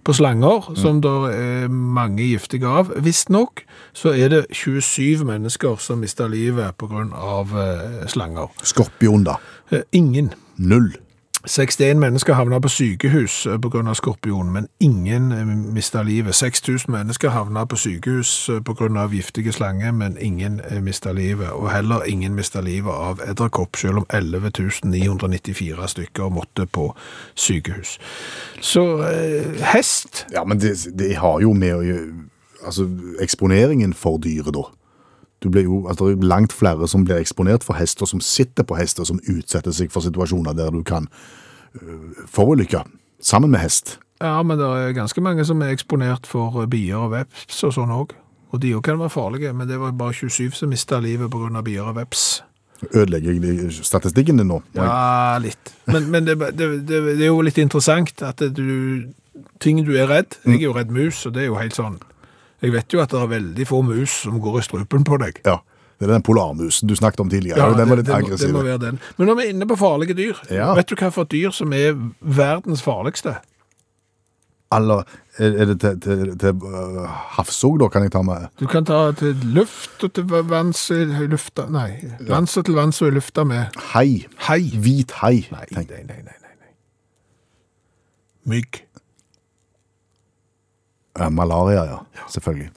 [SPEAKER 2] på slanger, som det er mange giftige av, visstnok, så er det 27 mennesker som mistet livet på grunn av eh, slanger.
[SPEAKER 3] Skorpion, da.
[SPEAKER 2] Eh, Ingen
[SPEAKER 3] Null.
[SPEAKER 2] 61 mennesker havna på sykehus pga. skorpion, men ingen mista livet. 6000 mennesker havna på sykehus pga. giftige slanger, men ingen mista livet. Og heller ingen mista livet av edderkopp, selv om 11 994 stykker måtte på sykehus. Så eh, hest
[SPEAKER 3] Ja, men det, det har jo med å gjø- Altså, eksponeringen for dyret, da. Du blir jo, altså, det er langt flere som blir eksponert for hester, som sitter på hester, som utsetter seg for situasjoner der du kan øh, forulykke sammen med hest.
[SPEAKER 2] Ja, men det er ganske mange som er eksponert for eh, bier og veps og sånn òg. Og de òg kan være farlige, men det var bare 27 som mista livet pga. bier og veps.
[SPEAKER 3] Ødelegger jeg statistikken din nå?
[SPEAKER 2] Ja, litt. Men, men det, det, det, det er jo litt interessant at du Ting du er redd Jeg er jo redd mus, og det er jo helt sånn Jeg vet jo at det er veldig få mus som går i strupen på deg.
[SPEAKER 3] Ja. Det er den polarmusen du snakket om tidligere.
[SPEAKER 2] Ja,
[SPEAKER 3] den var litt
[SPEAKER 2] det, må- det
[SPEAKER 3] aggressiv.
[SPEAKER 2] må være den. Men når vi er inne på farlige dyr,
[SPEAKER 3] Ja.
[SPEAKER 2] vet du hva for dyr som er verdens farligste?
[SPEAKER 3] Eller er er det til, til, til øh, havs òg, da? Kan jeg ta med
[SPEAKER 2] Du kan ta til luft og til vanns i lufta Nei, vanns og til vanns og i lufta med
[SPEAKER 3] Hei.
[SPEAKER 2] Hei.
[SPEAKER 3] Hvit hei.
[SPEAKER 2] Nei, nei,
[SPEAKER 3] tenk.
[SPEAKER 2] nei, nei, nei. nei. Mygg.
[SPEAKER 3] Eh, Malaria, ja. Selvfølgelig.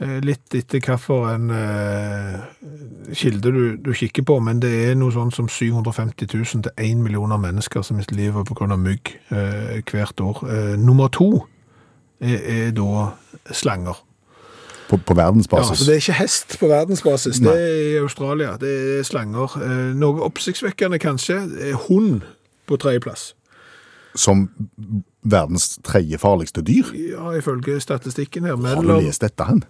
[SPEAKER 2] Eh, Litt etter hvilken eh, kilde du, du kikker på, men det er noe sånn som 750 000 til 1 millioner mennesker som mister livet pga. mygg eh, hvert år. Eh, nummer to er, er da slanger.
[SPEAKER 3] På, på
[SPEAKER 2] Ja,
[SPEAKER 3] verdensbasis.
[SPEAKER 2] så Det er ikke hest på verdensbasis, det er i Australia. Det er slanger. Eh, noe oppsiktsvekkende kanskje er hund på tredjeplass.
[SPEAKER 3] Som verdens tredje farligste dyr.
[SPEAKER 2] Ja, ifølge statistikken her.
[SPEAKER 3] Har du
[SPEAKER 2] mellom-
[SPEAKER 3] lest dette hen?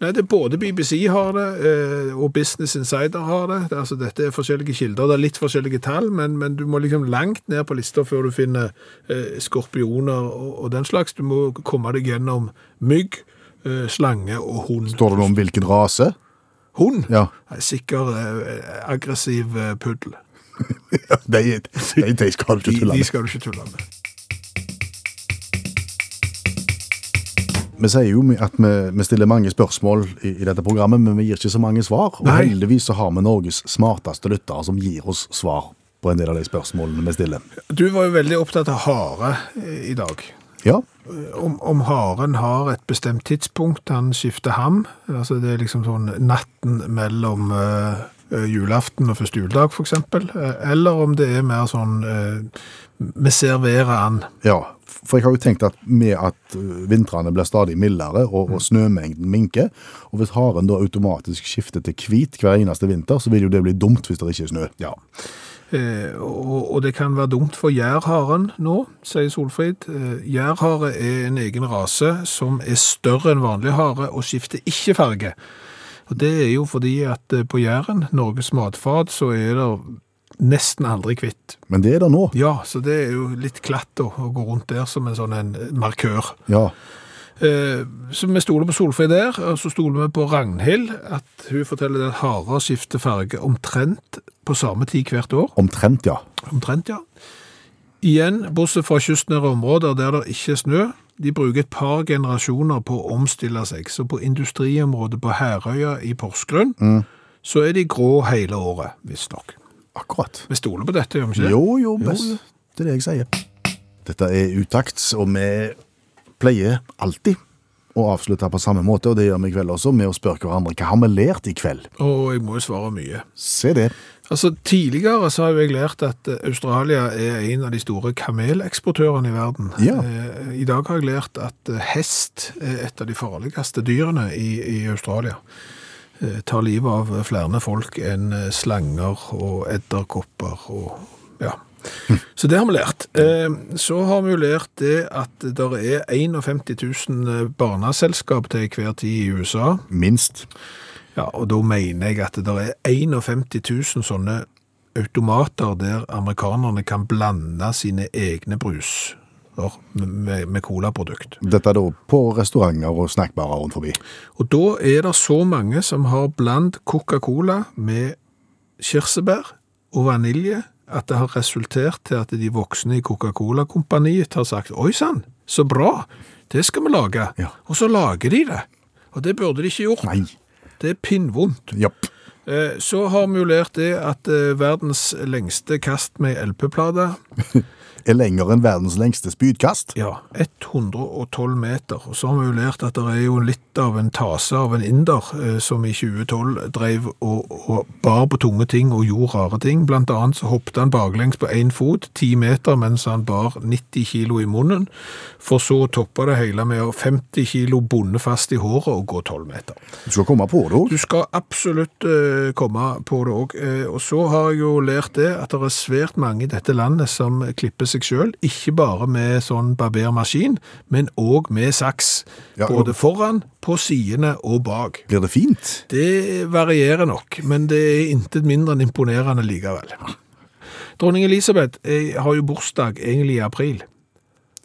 [SPEAKER 2] Nei, det er både BBC har det, eh, og Business Insider har det. det er altså, dette er forskjellige kilder. Det er litt forskjellige tall, men, men du må liksom langt ned på lista før du finner eh, skorpioner og, og den slags. Du må komme deg gjennom mygg, eh, slange og hund.
[SPEAKER 3] Står det noe om hvilken rase?
[SPEAKER 2] Hund?
[SPEAKER 3] Ja.
[SPEAKER 2] Nei, Sikker eh, aggressiv eh, puddel.
[SPEAKER 3] De, de, de skal du
[SPEAKER 2] De,
[SPEAKER 3] ikke tulle
[SPEAKER 2] de
[SPEAKER 3] med.
[SPEAKER 2] skal du ikke tulle med.
[SPEAKER 3] Vi sier jo at vi, vi stiller mange spørsmål i, i dette programmet, men vi gir ikke så mange svar. Og
[SPEAKER 2] Nei.
[SPEAKER 3] heldigvis så har vi Norges smarteste lyttere som gir oss svar på en del av de spørsmålene vi stiller.
[SPEAKER 2] Du var jo veldig opptatt av hare eh, i dag.
[SPEAKER 3] Ja.
[SPEAKER 2] Om, om haren har et bestemt tidspunkt han skifter ham. Altså det er liksom sånn natten mellom eh, eh, julaften og første juledag, for eksempel. Eh, eller om det er mer sånn eh, vi serverer han.
[SPEAKER 3] Ja, for jeg har jo tenkt at med at ø, vintrene blir stadig mildere og, og snømengden minker, og hvis haren da automatisk skifter til hvit hver eneste vinter, så vil jo det bli dumt hvis det ikke er snø.
[SPEAKER 2] Ja. Eh, og, og det kan være dumt for jærharen nå, sier Solfrid. Eh, jærhare er en egen rase som er større enn vanlig hare og skifter ikke farge. Og det er jo fordi at eh, på Jæren, Norges matfat, så er det nesten aldri kvitt.
[SPEAKER 3] Men det er det nå.
[SPEAKER 2] Ja, så det er jo litt glatt å, å gå rundt der som en sånn en markør.
[SPEAKER 3] Ja.
[SPEAKER 2] Eh, Så vi stoler på Solfrid der, og så stoler vi på Ragnhild, at hun forteller at harer skifter farge omtrent på samme tid hvert år.
[SPEAKER 3] Omtrent, ja.
[SPEAKER 2] Omtrent, ja. Igjen, bortsett fra kystnære områder der det ikke er snø, de bruker et par generasjoner på å omstille seg. Så på industriområdet på Herøya i Porsgrunn, så er de grå hele året, visstnok.
[SPEAKER 3] Akkurat.
[SPEAKER 2] Vi stoler på dette, gjør vi ikke det?
[SPEAKER 3] Jo, jo, best. Det er det jeg sier. Dette er utakt, og vi pleier alltid å avslutte på samme måte, og det gjør vi i kveld også, med å spørre hverandre hva har vi lært i kveld.
[SPEAKER 2] Og jeg må jo svare mye.
[SPEAKER 3] Se det.
[SPEAKER 2] Altså, Tidligere så har jo jeg lært at eh, Australia er en av de store kameleksportørene i verden.
[SPEAKER 3] Ja.
[SPEAKER 2] Eh, I dag har jeg lært at eh, hest er et av de farligste dyrene i, i Australia. Eh, Tar livet av flere folk enn eh, slanger og edderkopper og Ja. Så det har vi lært. Eh, Så har vi jo lært det at det er 51 000 eh, barneselskap til hver tid i USA.
[SPEAKER 3] Minst.
[SPEAKER 2] Ja, og da mener jeg at det er 51 000 sånne automater der amerikanerne kan blande sine egne bruser med, med colaprodukt.
[SPEAKER 3] Dette er da på restauranter og snackbarer rundt forbi.
[SPEAKER 2] Og da er det så mange som har blandt Coca-Cola med kirsebær og vanilje, at det har resultert til at de voksne i Coca-Cola-kompaniet har sagt «Oi sann, så bra! Det skal vi lage!»
[SPEAKER 3] Ja.
[SPEAKER 2] Og så lager de det. Og det burde de ikke gjort.
[SPEAKER 3] Nei.
[SPEAKER 2] Det er pinnvondt.
[SPEAKER 3] Japp.
[SPEAKER 2] Eh, Så har vi jo lært det at eh, verdens lengste kast med LP-plate
[SPEAKER 3] er lenger enn verdens lengste spydkast.
[SPEAKER 2] Ja, 112 meter. Og så har vi jo lært at det er jo litt av en tase av en inder eh, som i 2012 drev og, og bar på tunge ting og gjorde rare ting. Blant annet så hoppet han baklengs på én fot, 10 meter, mens han bar 90 kilo i munnen. For så å toppe det hele med å 50 kilo bonde fast i håret og gå 12 meter.
[SPEAKER 3] Du skal komme på det òg.
[SPEAKER 2] Du skal absolutt eh, komme på det òg. og så har jeg jo lært det at det er svært mange i dette landet som klipper seg sjøl, ikke bare med sånn barbermaskin, men òg med saks.
[SPEAKER 3] Ja, og-
[SPEAKER 2] både foran, på sidene og bak.
[SPEAKER 3] Blir det fint?
[SPEAKER 2] Det varierer nok, men det er intet mindre enn imponerende likevel. Dronning Elisabeth eh, har jo bursdag egentlig i april.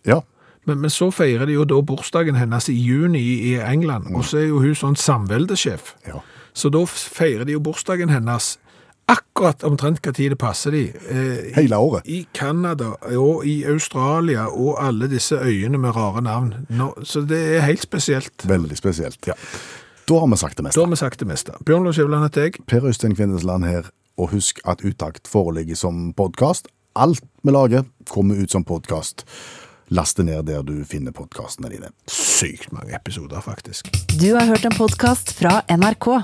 [SPEAKER 3] Ja.
[SPEAKER 2] Men, men så feirer de jo da bursdagen hennes i juni i England, og så er jo hun sånn samveldesjef.
[SPEAKER 3] Mm. Ja.
[SPEAKER 2] Så da feirer de jo bursdagen hennes akkurat omtrent hva tid det passer de. Eh,
[SPEAKER 3] Hele året.
[SPEAKER 2] I Kanada og i Australia og alle disse øyene med rare navn. Nå, så det er helt spesielt.
[SPEAKER 3] Veldig spesielt. Da har vi sagt det
[SPEAKER 2] Da
[SPEAKER 3] meste.
[SPEAKER 2] har vi sagt det meste. Bjørn Lars Skjæveland heter jeg.
[SPEAKER 3] Per Øystein Kvindesland her, og husk at Utakt foreligger som podkast. Alt vi lager, kommer ut som podkast. Last det ned der du finner podkastene dine.
[SPEAKER 2] Sykt mange episoder, faktisk.
[SPEAKER 1] Du har hørt en podkast fra NRK.